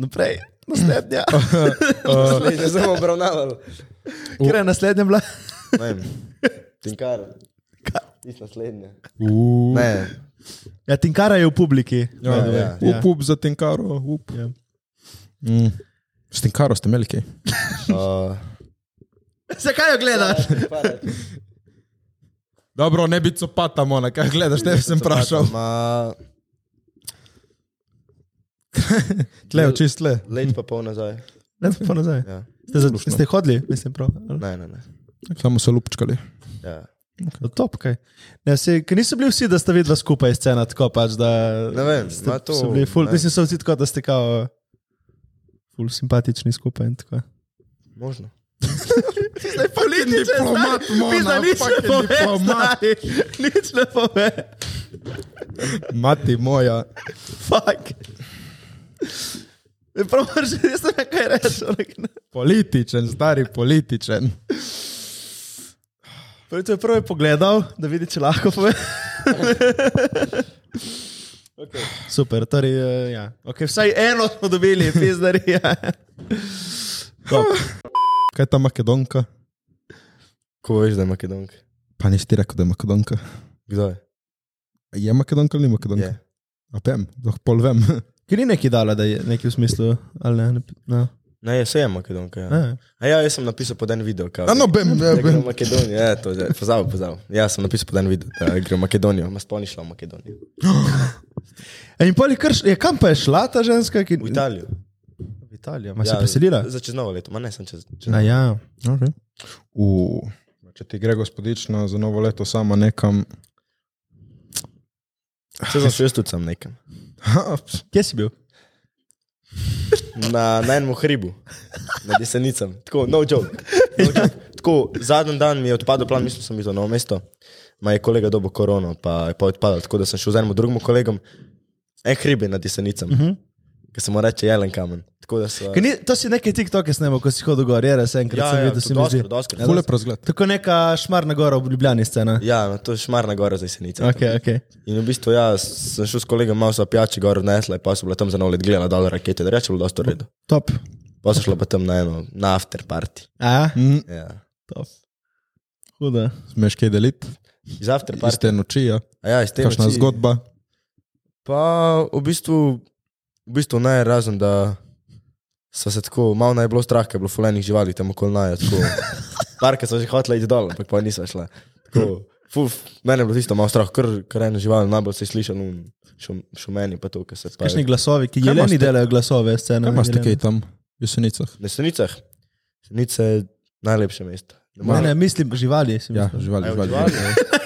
S4: Naprej, (laughs) naslednja.
S2: (laughs)
S1: Uh,
S2: Ne znamo obravnavati.
S4: Kjer je naslednja bila?
S2: Ne vem. Tinkar. Tisti naslednje.
S1: uh,
S2: Ne.
S4: Ja, Tinkara je v publiki.
S1: ja,
S4: by the way.
S1: ja. Up, up za tenkaro, up.
S4: Ja.
S1: Mm. S tenkaro ste imeli kaj?
S2: Uh,
S4: Zakaj jo gledaš?
S1: Dobro, ne bi copata, mona, kaj gledaš, ne bi sem vprašal.
S2: Ma,
S1: Tle, čist le.
S2: let pa pol nazaj.
S4: Ne, pa nazaj.
S2: Ja.
S4: Ste, za, ste hodili, mislim, prav. ali?
S2: Ne, ne, ne.
S1: Samo se lupčkali.
S2: Ja.
S4: No, top, kaj. Ne, vse, ker niso bili vsi, da ste videli skupaj scena, tako pač, da
S2: Ne vem,
S4: ste,
S2: ma to.
S4: so bili ful,
S2: ne.
S4: mislim, so vsi tako, da ste kao, ful simpatični skupaj in tako.
S2: Možno.
S4: Zdaj pa nič ne
S1: diplomat, Mona,
S4: Pizda, nič ne
S1: fucking
S4: pove,
S1: diplomat.
S4: stari. Nič ne pove.
S1: Mati moja.
S4: Fuck. Ne prav, že nisem vem, kaj reči. onak, ne.
S1: Političen, stari političen.
S4: Prvi Torej, to je prvi pogledal, da vidi, če lahko pove. okay. Super, torej, eh, ja. okay, vsaj eno smo dobili, pizdarija.
S1: Kaj je ta Makedonka?
S2: Ko veš, da je Makedonk?
S1: Pa nisi ti rekel, da je Makedonka.
S2: Kdo je?
S1: Je Makedonka ali ni Makedonka?
S2: Je.
S1: A pem, lahko pol vem.
S4: Ker ni neki dala, da je neki v smislu, ali ne, ne, no,
S2: Ne, jaz sem Makedonka. Ja.
S4: ne.
S2: A ja, jaz sem napisal pod en video. Kao,
S1: (laughs) A no, bem, ja,
S2: Da gre
S1: bem.
S2: v Makedonijo, ja, to je, pozav, pozav. Ja, sem napisal pod en video, da gre v Makedonijo, ma sploh ni šla v Makedonijo.
S4: E, in poli krš, je kam pa je šla ta ženska, ki
S2: V Italijo.
S4: V Italijo. Ma se ja, preselila?
S2: Za čez novo leto, ma ne, sem čez. čez
S4: Na ja.
S1: Okay. U, če ti gre gospodično za novo leto sama nekam.
S2: Saj sem šel tudi sam nekam.
S1: Ha, ps,
S4: Kje si bil?
S2: Na, na enem hribu, na desenicam, tako, no joke. No joke. Tako, zadnji dan mi je odpadel plan, mislim, da sem bil na novo mesto. Ma je kolega dobo korono, pa je pa odpadel, tako da sem šel z enim drugim kolegom, en hrib je na desenicam. Uh -huh. ki se mu reče jelen kamen. Tako da so...
S4: Mhm. Ker Ni, to si nekaj TikToke snemal, ko si hodil gor, je res enkrat
S2: Ja,
S4: sem
S2: ja,
S4: videl, se mi
S2: doskrat,
S4: zdi.
S2: doskrat.
S4: Ja,
S1: Fule razgled.
S4: Tako neka šmarna gora ob Ljubljani scena.
S2: Ja, no, to je šmarna gora za jesenice.
S4: Okay, okay.
S2: In v bistvu ja, sem šel s kolegom malo sapijači gor odnesla, pa so bile tam za nov let gledala dol rakete, da reče bilo dosto redo.
S4: Top.
S2: Pa so šla pa tam na eno, na after party.
S4: A?
S1: Mm,
S2: Ja.
S4: Top. Huda.
S1: smeš kaj deliti?
S2: Iz after
S1: Iz
S2: party.
S1: te noči, ja.
S2: A Ja, iz te
S1: Kakšna
S2: noči-
S1: zgodba?
S2: Pa v bistvu, v bistvu naj razen, da so se tako, malo naj je bilo strah, ker je bilo fulenih živali tam okoli naj. tako.
S1: (laughs)
S2: Parke so že hotele iti dol, ampak pa niso šle. Tako, Fuf, mene je bilo tisto malo strah, ker, ker eno žival najbolj se sliši, no, šum, šumeni pa to, kar se pa.
S4: Kakšni glasovi, ki
S1: Kaj imaš
S4: jeleni
S1: te-
S4: delajo glasove scena.
S1: Kaj imaš ti kaj tam? V jesenicah.
S2: Na Senicah. Senice je najlepše mesto.
S4: Ne, ne, mislim živali. si
S1: Ja,
S4: mislil.
S1: živali, živali.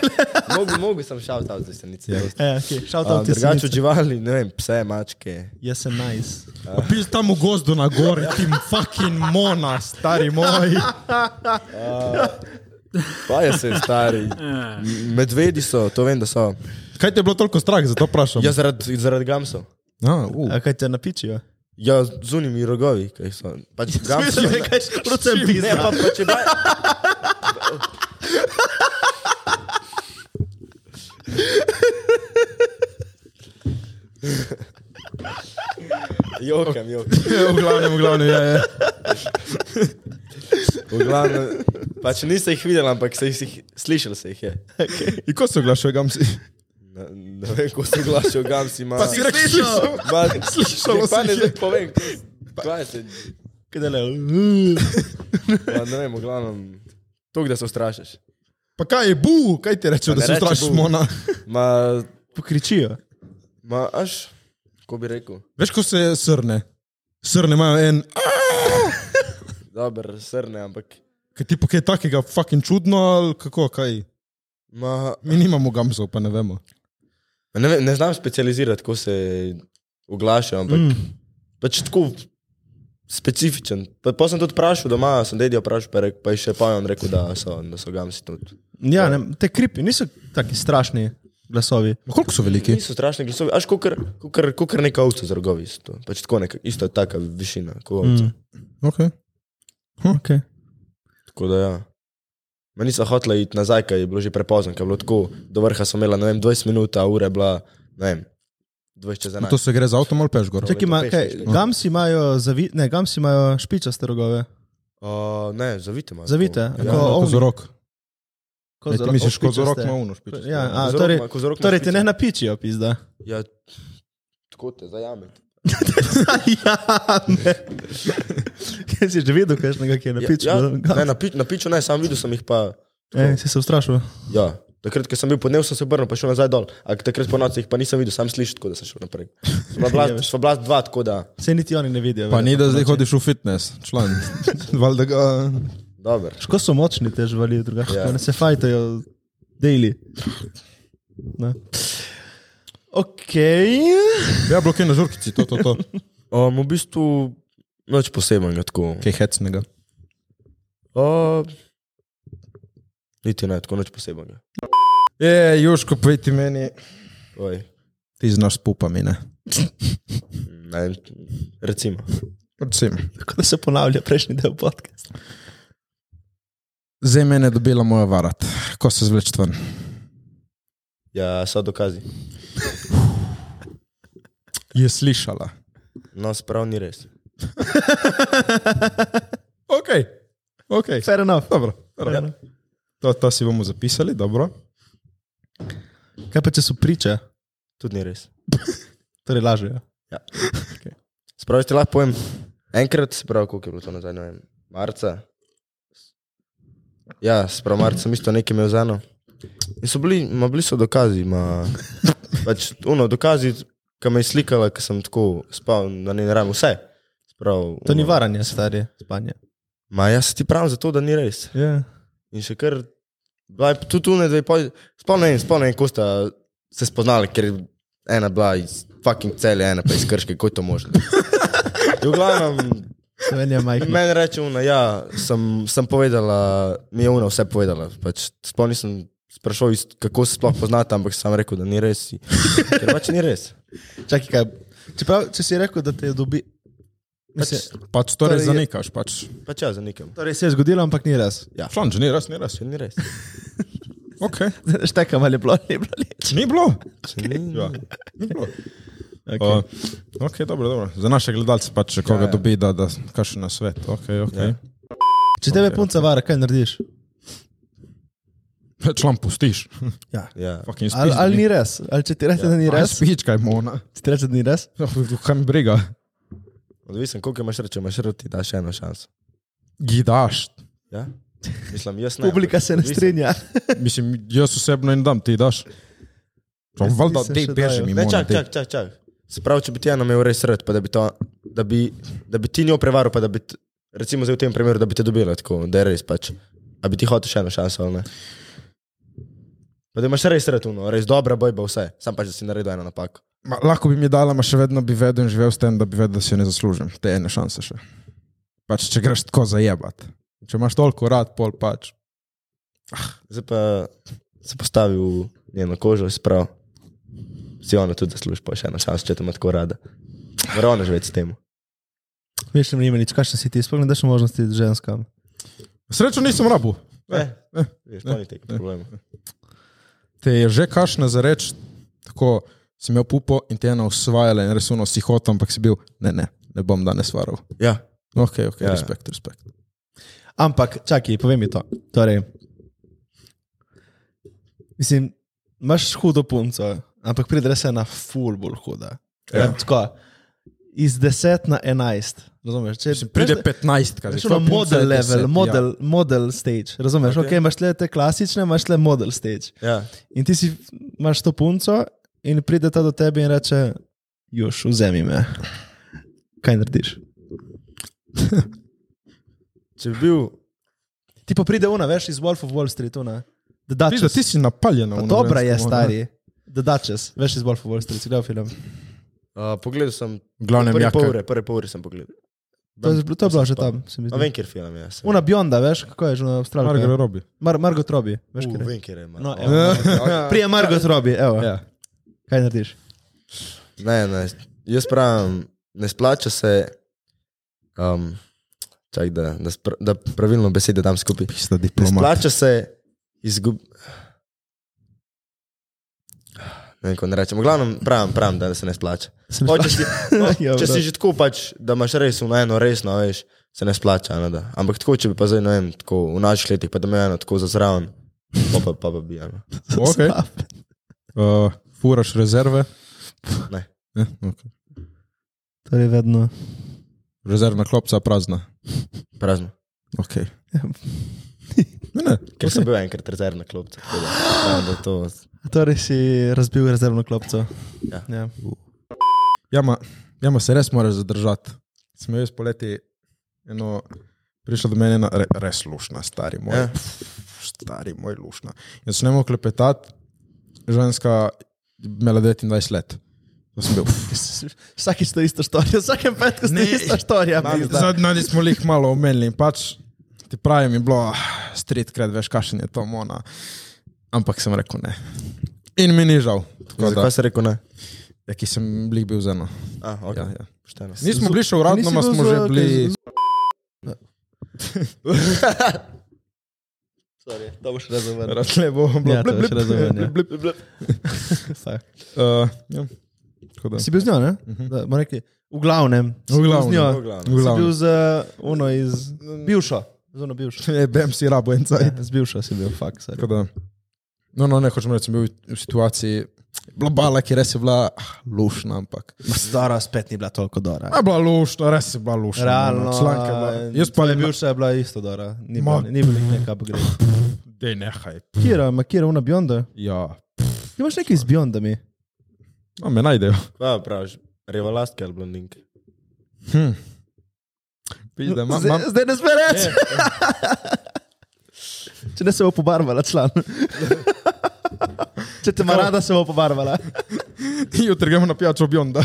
S2: (laughs) Mogu, mogu sem šel tam za Senice. Ja.
S4: Ja, okay. Šel tam
S2: Uh,
S4: ti
S2: drugače od živali, ne vem, pse, mačke.
S4: Jaz sem najs.
S1: Pil tam v gozdu na gori, ti fucking mona, stari moj.
S2: Pa je se stari. Medvedi so, to vem, da so.
S1: (laughs) Kaj ti je bilo toliko strah, zato vprašam?
S2: Ja, zaradi zarad gamsov.
S1: A, u.
S4: A kaj te napičijo?
S2: Ja, zunimi rogovi, kaj so. Pač gamsi.
S4: Mislim, kaj še procem
S2: Ne,
S1: ja.
S4: pizda.
S2: pa, pa če baj. Jokam, jokam.
S1: (laughs) v glavnem, v glavnem, ja, ja.
S2: V glavnem, pač niste jih videli, ampak se jih slišali se jih je.
S1: In ko se oglašuje, gam si?
S2: Ne, ne vem, ko se glašil, gam si ima.
S1: si rekel, slišal.
S2: Ma,
S1: Slišalo
S2: pa
S1: se
S2: ne
S1: jih je.
S2: zdaj povem, kaj se.
S4: Kaj delajo? (laughs)
S2: Ma, ne vem, v glavnem, to, da se ustrašiš.
S1: Pa kaj je bu, kaj ti reče,
S2: Pa
S1: da
S2: ne
S1: se
S2: reče
S1: strašiš
S2: bu.
S1: mona?
S2: Ma,
S4: Pokričijo.
S2: ma, aš, ko bi rekel,
S1: Veš, ko se srne? Srne imajo en,
S2: dober, srne, ampak.
S1: kaj ti pa kaj takega, fucking čudno, ali kako, kaj?
S2: Ma,
S1: Mi nimamo gamsov, pa ne vemo.
S2: ne, vem, ne znam specializirati, ko se oglašajo, ampak mm. pač tako specifičen. Pa, pa sem tudi vprašal doma, sem dedijo vprašal, pa, je rekel- pa je še pa je on rekel, da so, da so gamsi tudi.
S4: Ja, ne, te kripi niso taki strašni glasovi.
S1: Ma koliko so veliki?
S2: Niso strašni glasovi, až kot neka ovca z rogovi. so to. Pač tako neka, isto je taka višina kot ovca. Mm.
S1: Okay. Hm.
S4: Okay.
S2: Tako da ja. Ma niso hoteli iti nazaj, ker je bilo že prepozno, ker je bilo tako, do vrha so imela, ne vem, 20 minut, a ura je bila, ne vem, 20 čez 11.
S1: To se gre za avtom ali peš gor?
S4: Čak, ima,
S2: peš,
S4: kaj,
S2: peš, peš.
S1: no.
S4: gamsi imajo, zavi, ne, gamsi imajo špičaste rogove.
S2: Uh, ne, zavite malo.
S4: Zavite,
S1: Ja,
S4: ko
S1: kot
S4: ovni.
S1: za rok.
S4: Ko
S1: Ne,
S4: za
S1: ti
S4: rok-
S1: misliš, kot za rok
S4: špičaste.
S1: ima uno špičasto.
S4: Ja, a,
S2: Kozorog
S4: torej,
S2: ima- kozorog ima
S4: torej te ne
S2: špičaste.
S4: napičijo,
S1: (laughs)
S4: pizda. (laughs)
S2: Ja, tako te zajamete.
S4: ja, ne. Kaj si že videl, kakšnega, ki je napičil?
S2: ja, ne,
S4: Ja,
S2: na, pič, na piču ne, sam videl sem jih pa.
S4: ja. E, si se ustrašil.
S2: Ja, takrat, ko sem bil podnev, sem se obrnil pa šel nazaj dol. A takrat po noci jih pa nisem videl, sam slišal, tako da sem šel naprej. Sva
S4: (laughs) Ja,
S2: blast, sva blast dva, tako da.
S4: Se niti oni ne vidijo.
S1: Pa ni, da
S4: verjetno.
S1: zdaj hodiš v fitness, član. Valjda ga...
S2: Dober.
S4: Ško so močni te živali, drugače
S2: Ja.
S4: ja. se fajtajo daily. Ne. Ok,
S1: (laughs) Ja, blokaj na žurkici, to, to, to.
S2: Um, v bistvu nič posebnega tako.
S1: Kaj hecnega.
S2: Um, niti ne, tako nič posebnega.
S1: Je, Joško, pej ti meni.
S2: Oj,
S1: Ti znaš s pupami, ne?
S2: ne, vem, recimo.
S1: Predvsem.
S4: tako da se ponavlja prejšnji del podcasta.
S1: Zdaj mene je dobila moja varat, ko se zvleč ven.
S2: Ja, so dokazi.
S1: Je slišala.
S2: No, sprav ni res.
S1: Ok, ok.
S4: Fair enough.
S1: Dobro, dobro.
S4: Fair enough.
S1: To, to si bomo zapisali, dobro.
S4: Kaj pa če so priče,
S2: Tudi ni res.
S4: torej lažejo.
S2: Spravi, ti lahko povem, enkrat, spravi, koliko je bilo to nazaj, ne vem, marca. Ja, spravi, marca sem isto nekaj imel za eno. In so bili, ma bili so dokazi, ma, pač, uno, dokazi, ki me je slikala, ker sem tako spal na njen ram, vse. Sprav,
S4: To ni varanje, stari, spanje.
S2: Ma jaz ti pravim zato, da ni res.
S4: Yeah.
S2: In še kar, bila je tudi tu ne zdaj, spomnim, spomnim, ko sta se spoznali, ker je ena bila iz fucking cele, ena pa iz krške, kako je to možno. In
S4: (laughs)
S2: V glavnem,
S4: Slovenija
S2: (laughs)
S4: majhna.
S2: Meni reče, da ja, sem, sem povedala, mi je ona vse povedala. Pač, sploh nisem sprašoval, iz- kako se sploh poznata, ampak sem rekel, da ni res. Ker pač ni res.
S4: Čakaj, kaj, Čeprav, če si rekel, da te je dobil. Mislim,
S1: Pač to res
S4: Torej je-
S1: zanikaš, pač.
S2: Pa čas ja, za nikem.
S4: torej se je zgodilo, ampak ni res.
S1: (laughs)
S4: Ja.
S1: Flanč, ni res, ni res.
S2: Če ni res.
S1: Okay.
S4: Štekam ali je bilo, ni bilo nič.
S1: Ni bilo.
S2: Če ni,
S1: Ja. Ni bilo.
S4: Okay.
S1: Okay. Uh, okay, dobro, dobro. Za naše gledalce pač, če koga ja, ja. dobi, da, da kakšen na svet. Okay,
S4: Ja.
S1: okay.
S4: Če tebe punca vara, kaj narediš?
S1: Ja. Član pustiš.
S2: ja.
S1: (laughs) Fucking
S4: Ali,
S1: spiš,
S4: ali ni res, ali če ti reče, ja. da ni
S1: Aj,
S4: res,
S1: Spič, kaj mona.
S4: ti reče, da ni res.
S1: No, Kaj mi briga?
S2: Odvisen, koliko imaš reči, imaš reči, daš eno šanso.
S1: Gidaš.
S2: Ja? Mislim, jaz ne.
S4: Publika se ne
S2: Odvisen.
S4: strinja.
S1: Mislim, jaz osebno jim dam, ti daš. Pa
S4: Jaz
S1: Valjda,
S4: nisem
S1: dej
S4: še
S1: beži
S4: dajal.
S1: mi.
S2: Ne,
S1: mona,
S2: čak,
S1: daj.
S2: čak, čak, čak. Se pravi, če bi ti eno imel res rad, pa da bi, to, da bi, da bi ti njo prevaril, pa da bi, t- recimo zdaj v tem primeru, da bi te dobila tako, da je res pač. A bi ti hotel še eno šanso ali ne? Pa da imaš res rad, no, res dobra bojba vse, sam pač, da si naredil eno napako.
S1: Ma, lahko bi mi dala, ma še vedno bi vedel in živel s tem, da bi vedel, da si jo ne zaslužim. Te ene šanse še. Pač, če greš tako zajebat. Če imaš toliko rad, pol pač.
S2: Zdaj pa se postavi v njeno kožo, se pravi, si ona tudi zasluži pa še eno šanso, če te ima tako rada. Verona že več s tem.
S4: (laughs) Veš, ne imaš nič, kakšen si ti, sploh ne daš možnosti ženskam.
S1: Srečo nisem rabu.
S2: Ne,
S1: ne,
S2: Eh, Veš, to ni tega problema.
S1: Te je že kašne za reč, tako si imel pupo in te je ena usvajala in res uno si hotel, ampak si bil, ne, ne, ne bom danes varal.
S2: Ja,
S1: Ok, ok,
S2: Ja, ja.
S1: ja. respekt, respekt.
S4: Ampak, čakaj, povej mi to. Torej, mislim, imaš hudo punco, ampak pride res ena ful bolj huda. Ja. Tako, iz 10 na 11. Razumeš? Če
S1: Mislim, pride 15, kaj
S4: Rečeš, ono model level, model, ja. model stage. Razumeš? Okay.
S2: Ok.
S4: Okay, imaš le te klasične, imaš le model stage.
S2: ja.
S4: In ti si, imaš to punco, in pride ta do tebe in reče: Juž, vzemi me. Kaj narediš?
S2: Če bi bil
S4: Ti pa pride una, veš, iz Wolf of Wall Street, una. Da, da,
S1: Pizda, ti si napaljen.
S4: Pa dobra je, stari. Da, da, čez, veš iz Wolf of Wall Street, si gledal film.
S2: Uh, pogledal sem
S1: Glavnem,
S2: prve
S1: jaka-
S2: pol ure, prve pol ure sem pogledal.
S4: To je, bilo- to je bilo že
S2: Pa-
S4: tam, se mi
S2: No,
S4: zdi.
S2: vem, kjer film je. sem-
S4: Una Bionda, veš, kako je že na
S1: Margaret
S4: Avstraliji.
S1: Robi.
S4: Mar Margot Robbie, veš,
S2: U,
S4: kaj je.
S2: Vem, Ja. kjer je. man.
S4: No,
S2: O,
S4: evo,
S2: (laughs)
S4: Prije Margot Robbie, evo.
S1: Ja.
S4: Kaj narediš?
S2: Ne, ne, jaz pravim, ne splača se. Um, čak, da, da, spra, da pravilno besede dam skupaj.
S1: Pizda,
S2: Ne
S1: diplomat.
S2: splača se izgubiti. Ne vem, kako ne rečem. V glavnem, pravim, pravim da se ne splača.
S4: Se mi
S2: Pa, če, si,
S4: (laughs) Ja,
S2: no, če si
S4: brat.
S2: že tako, pač, da imaš res eno, eno resno, veš, se ne splača. Ne, da. Ampak tako, če bi pa zdaj, ne vem, tako v naših letih, pa da me eno tako zazraven, pa pa, pa, pa bi eno.
S1: Okay. Uh, furaš rezerve?
S2: Ne.
S1: Ne, okay.
S4: Torej, vedno.
S1: Rezervna klopca prazna.
S2: Prazno.
S1: Okay. Ne, ne.
S2: Ker sem bil enkrat rezervna klopca. tako da, pravim, da to-
S4: Torej, si razbil rezervno klopco.
S2: Ja.
S4: ja.
S1: Jama, jama ja, se res moraš zadržati. Smo jaz poleti eno, prišla do mene ena re, res lušna, stari moj,
S2: Ja.
S1: ja. stari moj lušna. Jaz sem ne mogel klepetati, ženska imela 29 let. To sem bil.
S4: (laughs) Vsakič to isto storijo, vsakem petku ste
S1: Ne.
S4: isto storijo.
S1: Zadnji smo jih malo omenili in pač ti pravim, je bilo street cred, veš, kakšen je to mona. Ampak sem rekel ne. In mi ni žal. Tako da,
S2: Zakaj si rekel ne?
S1: ja, ki sem glih bil z eno.
S2: A, okay.
S1: Ja, ja.
S2: Pošteno.
S1: Nismo bili še uradno,
S4: Nisi
S1: ampak
S4: bil
S1: smo
S4: z-
S1: že
S4: kaj,
S1: bili.
S4: z- Sorry, to boš razumel.
S1: Rasle bo, bilo
S4: Ja, to je še razumevanje.
S1: (laughs) Uh, ja. Tako da.
S4: Si bil z njo, ne?
S1: Mhm.
S4: Da, bomo rekli, v glavnem. si
S1: V
S4: bil
S1: glavnem,
S4: Z njo.
S2: v glavnem.
S1: V
S4: Si bil
S1: glavnem.
S4: z uno iz. Bivšo. Z uno bivšo.
S1: (laughs) E, Bem si rabo en cajt.
S4: Z bivšo si bil, fakt.
S1: Tako da. No, no, ne hočem reči, sem bil v situaciji, bila bala, ki res je bila ah, lušna, ampak.
S4: Zdora spet ni bila toliko dora.
S1: A bila lušna, res je bila lušna.
S4: Realno.
S1: no, Članka je bila. Jaz pa
S4: je
S1: ne bil.
S4: bivša, je bila isto dora. Ni
S1: Ma-
S4: bila ni bila
S1: (laughs)
S4: neka upgrade.
S1: Dej, nehaj.
S4: Kira, ma Kira, una Bionda.
S1: Ja,
S4: Ti imaš nekaj z Biondami.
S1: no, me najdejo.
S2: Ja, praviš, revalastke ali blondinke.
S1: Pizda, mam,
S4: Zdaj-
S1: mam.
S4: Zdaj ne sme reči. Če ne se bo pobarvala član. Če te ima rada, se bo pobarvala.
S1: Jutri gremo na pijačo (laughs) Bionda.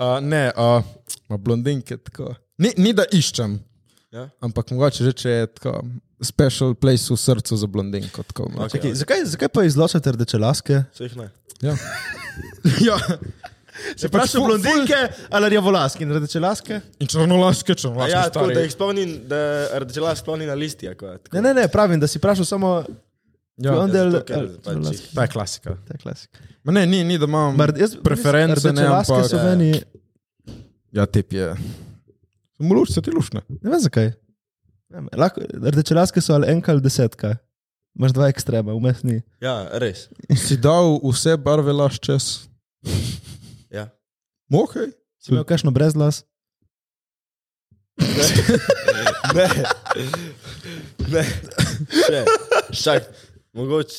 S1: Uh, ne, uh, ma blondinke tako. Ni, ni da iščem.
S2: Ja.
S1: Ampak mogoče že če je tako special place v srcu za blondinko. Tako, okay.
S4: Čakaj, zakaj, zakaj pa izločate rdeče laske?
S2: Vseh ne.
S1: (laughs) ja. ja.
S4: Se
S1: pač
S4: vprašal
S1: ful-
S4: blondinke ali rjavolaske in rdečelaske?
S1: In črnolaške, črnolaške.
S2: Ja, tako da
S1: stari.
S2: jih spomnim, da rdečela sploh ni na listi. Ako, je, tako.
S4: Ne, ne, ne, pravim, da si vprašal samo
S1: ja.
S4: blondel.
S2: zato, ker pač jih-
S1: Ta je klasika.
S4: To je klasika.
S1: Ma ne, ni, ni, da imam
S4: Mm. Mar- jaz-
S1: preference, ne,
S4: rdečelaske
S1: ampak...
S4: so meni,
S1: Ja, tip je. Muluš se ti lušne.
S4: ne vem zakaj. Ne vem, Lahko, rdečelaske so ali enka ali desetka. Imaš dva ekstrema, vmes ni.
S2: Ja, res.
S1: Si dal vse barve laš čez.
S2: Ja.
S1: Mokaj.
S4: Si imel kakšno brezlas?
S2: Ne, ne, še, šak, mogoče,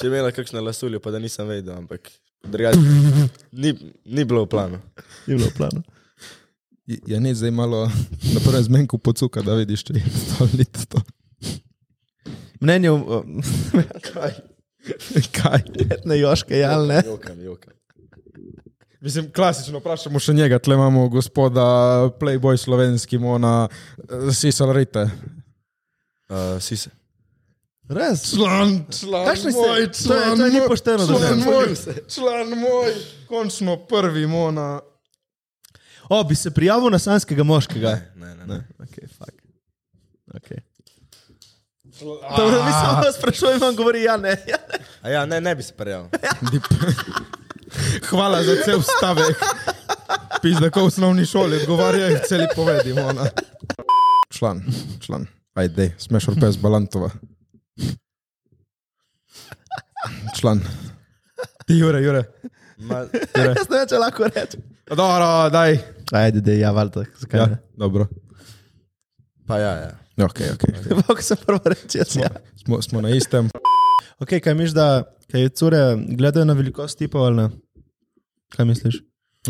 S2: če imela kakšno lasuljo, pa da nisem vedel, ampak drugače, ni, ni bilo v planu.
S4: Ni bilo v planu.
S1: Ja, ne, zdaj malo (laughs) na prvem zmenku pocuka, da vidiš, če je to ali to.
S4: Mnenje, o- (laughs)
S1: Kaj?
S4: ne Joške, jal ne.
S2: Jokam, jokam.
S1: Mislim, klasično vprašamo še njega, tle imamo gospoda Playboy slovenski, ona Sisal Rite.
S2: Uh, si se.
S4: Res.
S1: Član, član,
S4: Kakšni ste?
S1: moj,
S4: To je-
S1: član,
S4: to je
S1: moj,
S4: nepošteno do
S1: član
S4: mene.
S1: moj, član moj, končno prvi mona.
S4: O, bi se prijavil na sanskega moškega.
S2: Ne, ne, ne.
S4: Okay, fuck. Okay.
S1: Član-
S4: Dobro, mi samo vas sprašujemo, vam govori ja, ne. (laughs) Ja, ne.
S2: A ja, ne, ne bi se prijavil.
S1: (laughs) Hvala za cel stavek. Pizda, ko v osnovni šoli odgovarjajo, celi povedi mona. Član, član, ajde, smeš orpes Balantova. Član. Ti, Jure, Jure. No,
S2: Ma,
S4: Jaz ne vem, če lahko rečem.
S1: Dobro, daj.
S4: Ajde, da je ja, valjda, zakaj
S1: Ja,
S4: (laughs) ne.
S1: dobro.
S2: pa ja, ja.
S1: Okay, okay.
S4: Kako sem prvo reči, jaz ja.
S1: Smo, smo na istem.
S4: Ok, kaj misliš, da kaj cure gledajo na velikost tipov ali ne? Kaj misliš?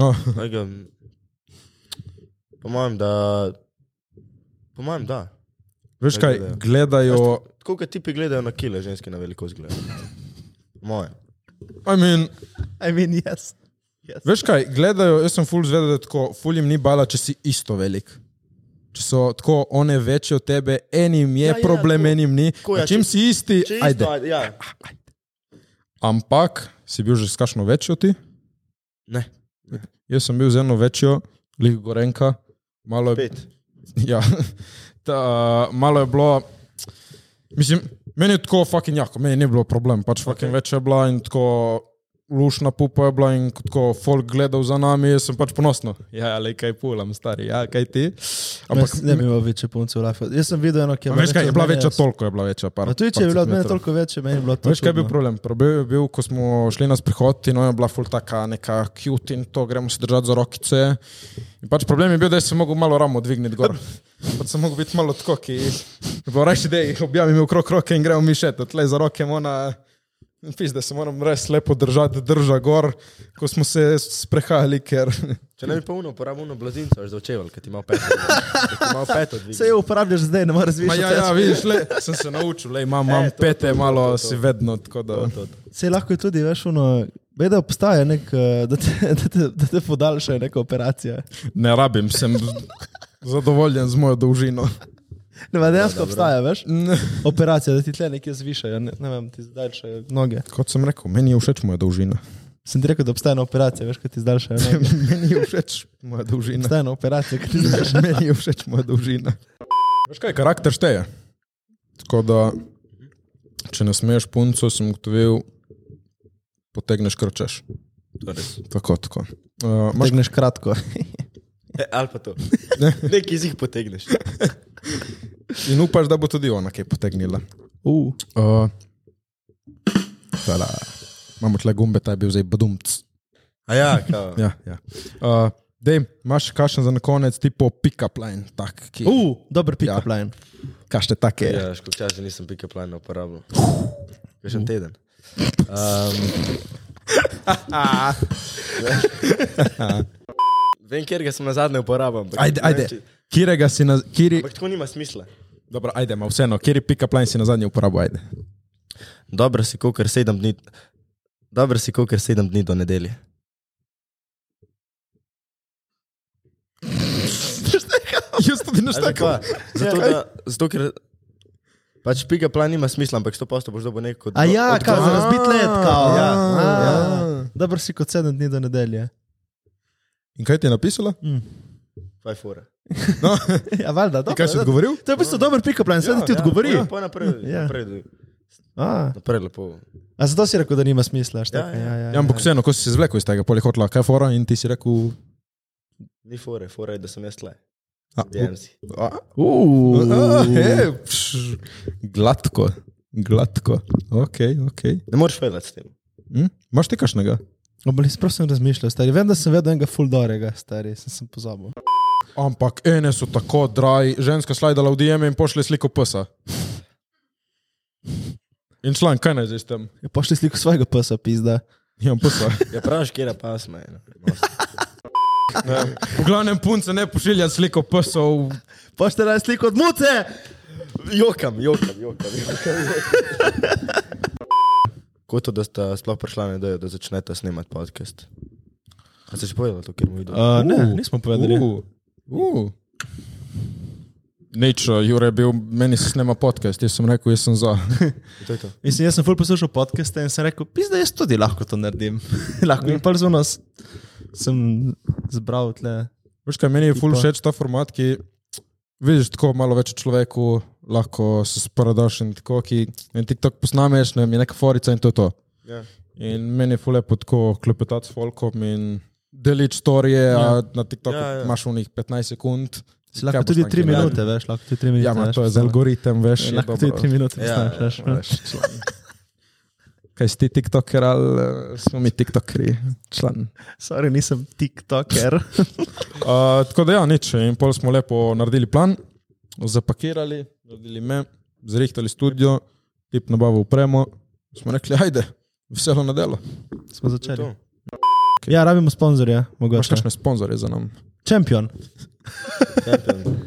S1: Oh,
S2: Aj ga, Po mojem, da. Po mojem, da.
S1: veš kaj,
S2: Gledajo.
S1: gledajo.
S2: Tako kot tipi gledajo na kile, ženske na veliko zgleda. Moje.
S1: I mean,
S4: I mean, yes. yes.
S1: Veš kaj, gledajo, jaz sem full zvedel, da tako, full jim ni bala, če si isto velik. Če so tako one večje od tebe, enim je ja,
S2: ja,
S1: problem,
S2: tako.
S1: ja, enim ni.
S2: Tako, ja,
S1: Ja, čim
S2: če-
S1: si isti,
S2: Če
S1: isto,
S2: isto,
S1: ajde.
S2: ajde, ja.
S1: Ampak si bil že s kakšno večjo ti?
S2: Ne.
S1: Jaz sem bil z eno večjo, lih Gorenka, malo je,
S2: Pet.
S1: (laughs) ja, ta, malo je bilo. Mislim, meni je tako fucking jako, meni ni bilo problem, pač fucking okay. večja je bila in tako lušna pupa je bila in ko tako folk gledal za nami, jaz sem pač ponosno. Ja, le kaj pulam, stari, ja, kaj ti. Ampak
S4: Ampak ne bi imel večje punce v lafu. Jaz sem videl eno, ki je
S1: veš kaj, je bila večja,
S4: to.
S1: toliko je bila večja. Par,
S4: Pa tudi, če je bila od mene
S1: centimetrov.
S4: toliko večja, meni je bilo to.
S1: Veš, kaj je bil
S4: čudno.
S1: problem? Problem je bil, ko smo šli na sprehod in ona je bila ful taka neka cute in to, gremo se držati za rokice. In pač problem je bil, da sem mogel malo ramo dvigniti (laughs) gor. Pač sem mogel biti malo tako, ki je bilo reči, da jih objavim okrog roke in gremo mi še, tle za roke ona. Pizde, se moram res lepo držati, drža gor, ko smo se sprehajali, ker
S2: Če ne bi pa uno, uporabim uno blazinco, až zaučeval, ker ti ima (laughs) peto. Ker ti ima peto dvigne.
S4: Se jo uporabljaš zdaj, ne moreš
S1: Ma
S4: več.
S1: ja, (laughs) ja, vidiš, le, sem se naučil, le, imam, imam e, to, pete, to, to, malo to, to, to. si vedno tako da. To, to, to.
S4: Se lahko je tudi, veš, ono, vedno obstaja nek, eh, da te, (laughs) da te, da te podaljšajo neka operacija.
S1: Ne rabim, sem zadovoljen z mojo dolžino.
S4: Ne, ma dejansko obstaja, (laughs) veš,
S1: Ne.
S4: Ja, operacija, da ti tle nekje zvišajo, ne, ne vem, ti zdaljšajo noge.
S1: Kot sem rekel, meni je všeč moja dolžina.
S4: Sem ti rekel, da obstaja ena operacija, veš, kaj ti (laughs) zdaljšajo noge.
S1: (laughs) meni je všeč moja dolžina.
S4: Obstaja ena operacija, ki ti zdaljšajo. (laughs)
S1: meni je všeč moja dolžina. Veš kaj, karakter šteje. Tako da, če ne smeješ punco, sem ugotovil, potegneš krčeš.
S2: To je res.
S1: Tako, tako. Uh, imaš-
S4: Magneš kratko.
S2: E, ali pa to. Nekaj iz njih potegneš.
S1: in upaš, da bo tudi ona kaj potegnila.
S4: Uh,
S1: Uh, tada. Imamo tle gumbe, ta je bil zdaj badumc.
S2: A (laughs) ja, kao.
S1: Ja, ja. Uh, Dej, imaš še kakšen za na konec, tipo pick-up line, tak, ki, uh.
S4: uh dober pick up
S1: Ja.
S4: ja. line.
S1: kašte take.
S2: Ja, škopča, že nisem pika plana uporabljal. Že en teden. Um, (laughs) Vem, kjer ga sem na zadnje uporabil. ampak
S1: Ajde,
S2: ne vem,
S1: ajde.
S2: če-
S1: Kirega si na... Kiri...
S2: Ampak tako nima smisla.
S1: Dobro, ajde, ma vseeno, kiri pika plan si na zadnji uporabo, ajde.
S2: Dobro si, kolikor sedem dni. Dobro si, kolikor sedem dni do nedelje.
S1: (laughs) Jaz tudi ne
S2: Tako, zato, da, zato, ker pač pika plan nima smisla, ampak 100% boš dobil neko.
S4: A ja,
S2: odgovor.
S4: kao, za razbit let, kao.
S2: Ja,
S4: A,
S2: ja.
S4: Dober si kot sedem dni do nedelje.
S1: In kaj ti je napisala?
S4: Mm.
S2: Faj fora.
S1: No,
S4: (laughs) Ja, valjda,
S1: in
S4: dobro.
S1: kaj si
S4: da-
S1: odgovoril?
S4: To je v bistvu dober pick-up line, sedaj ja, ti
S2: Ja,
S4: odgovori. Ja,
S2: Pa naprej,
S4: Ja.
S2: naprej,
S4: A,
S2: naprej lepo.
S4: a zato si rekel, da nima smisla. Ja,
S2: Ja, ja.
S4: ja, ja,
S1: Ja, ampak vseeno, ko si se zvlekel iz tega, pol je hotla, kaj je fora in ti si rekel,
S2: Ni fore, fore je, da sem jaz tle.
S1: a,
S2: Dejem si.
S1: a,
S4: Uh,
S1: a, he,
S4: (laughs)
S1: pš, gladko, gladko, ok, ok.
S2: Ne moreš fejlati s tem.
S1: Hm? Maš ti kašnega?
S4: Obli si prosim razmišljal, stari. Vem, da sem vedel enega full dorega, stari, sem, sem pozabil.
S1: Ampak ene so tako draj, ženska slajdala v DM in pošle sliko psa. In član, kaj naj zdaj s tem?
S4: Je Ja, pošli sliko svojega psa, pizda.
S1: Imam psa.
S2: Ja, praviš, kje je pasma.
S4: (laughs)
S2: je, no.
S1: V glavnem punce ne pošilja sliko psov.
S4: Pošte raje sliko od muce!
S2: Jokam, jokam, jokam. jokam, jokam. Kako to, da sta sploh prišla na idejo, da začnete snemati podcast? A ste že povedali to, kjer mu vidim?
S4: Uh, ne, nismo povedali. Uh.
S1: Uh, uh. Nič, Jure je bil, meni se snema podcast, jaz sem rekel, jaz sem za. (laughs)
S2: To je to.
S4: Mislim, jaz sem full poslušal podcaste in sem rekel, pizda, jaz tudi lahko to naredim. (laughs) lahko in prvo nas sem zbral tle.
S1: Veš kaj, meni je ful
S4: Tipa.
S1: všeč ta format, ki vidiš tako malo več o človeku, lahko se spradaš in tako, ki en TikTok posnameš, ne vem, je neka forica in to je to.
S2: Ja.
S1: In meni je ful lepo tako klepetati s folkom in deliti storije, ja. na TikToku
S2: Ja,
S1: ja,
S2: ja.
S1: ja. imaš v njih 15 sekund.
S4: Si lahko
S1: Kaj boš
S4: tudi
S1: tam
S4: tri
S1: gledal?
S4: minute, veš, lahko tudi tri minute.
S1: Ja, ma,
S4: veš,
S1: to je za
S4: postaneš.
S1: algoritem, veš. je
S4: Lahko
S1: dobro.
S4: tudi tri minute
S2: Ja,
S4: postaneš, veš.
S2: ja,
S4: no.
S2: veš,
S1: Kaj si ti TikToker ali eh, smo mi TikTokeri? Član.
S4: Sorry, nisem
S1: (laughs)
S4: tiktoker.
S1: Uh, tako da, ja, nič. In pol smo lepo naredili plan, zapakirali, naredili me, zrihtali studio, tip nabavo upremo. Smo rekli, ajde, veselo na delo.
S4: Smo
S2: To je to.
S4: začeli. Ja, rabimo sponzorja,
S1: Imaš
S4: mogoče.
S1: kakšne sponzorje za nam?
S4: Čempion.
S2: Champion.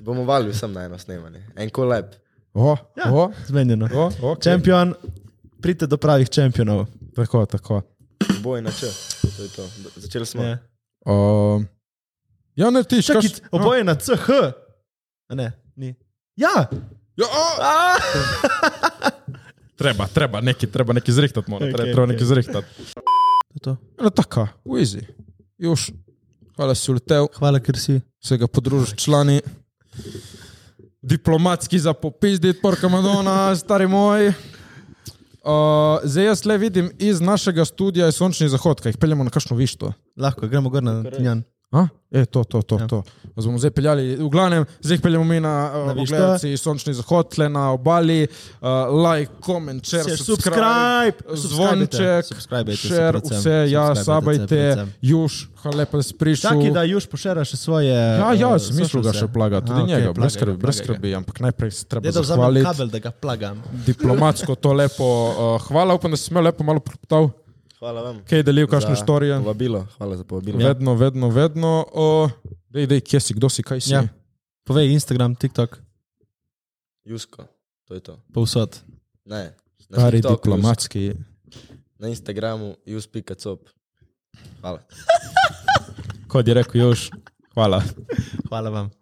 S2: Bomo valili vsem na eno snemanje. En kolab.
S1: Oho, ja. oho,
S4: Zmenjeno.
S1: oho, okay.
S4: Čempion, pridite do pravih čempionov.
S1: Tako, tako.
S2: Boj na če. To je to. Da- Začeli smo.
S4: Ja.
S1: Uh, ja, ne ti,
S4: Čakaj,
S1: kaš-
S4: oboje na CH. A Ne, ni. Ja,
S1: Ja, a! (laughs) treba, treba, neki, treba neki zrihtati, mora, okay, treba,
S4: Okej,
S1: treba
S4: okej.
S1: neki zrihtati.
S4: To je to.
S1: No, tako, uizi. Još, hvala si uletel,
S4: hvala, ker si.
S1: se ga podružiš s člani. Diplomatski za popizdit, porka Madonna, stari moj. Uh, zdaj jaz le vidim iz našega studia je sončni zahod, kaj jih peljemo na kakšno višto.
S4: Lahko gremo gor na Tinjan.
S1: A? E, to, to, to,
S4: Ja.
S1: ja. to. Zdaj bomo zdaj peljali, v glavnem, zdaj jih peljemo mi na,
S4: Na
S1: uh,
S4: Višto.
S1: gledalci, sončni zahod, tle na obali, uh, like, comment, share, subscribe. Zvonček,
S4: subskrbite,
S1: share, vse, ja, sabajte, juž, hvala lepa, da si prišel.
S4: Čakaj, da juž pošera še svoje.
S1: Ja, ja,
S4: eh,
S1: sem mislil ga
S4: socialce.
S1: še plaga, tudi
S4: A,
S1: A,
S4: okej,
S1: njega, okay, brez
S4: plagaj ga,
S1: skrbi, brez
S4: plagaj ga.
S1: skrbi, ampak najprej se treba
S4: Daj, da vzamem
S1: zahvaliti.
S4: kabel, da ga plagam.
S1: (laughs) Diplomatsko to lepo, uh, hvala, upam, da si imel lepo malo preptal,
S2: Hvala vam.
S1: kaj je delil, kakšne
S2: Za
S1: storije.
S2: Povabilo. Hvala za
S4: ja.
S2: povabilo.
S1: Vedno, vedno, vedno. Uh, dej, dej, kje si, kdo si, kaj si.
S4: Ja. Povej Instagram, TikTok,
S2: Jusko. To je to.
S4: povsod.
S2: Ne. Na
S1: Stari
S2: TikToku Jusko,
S1: diplomatski.
S2: Na Instagramu jus.cop. Hvala.
S1: Kot je rekel Jož, hvala.
S4: Hvala vam.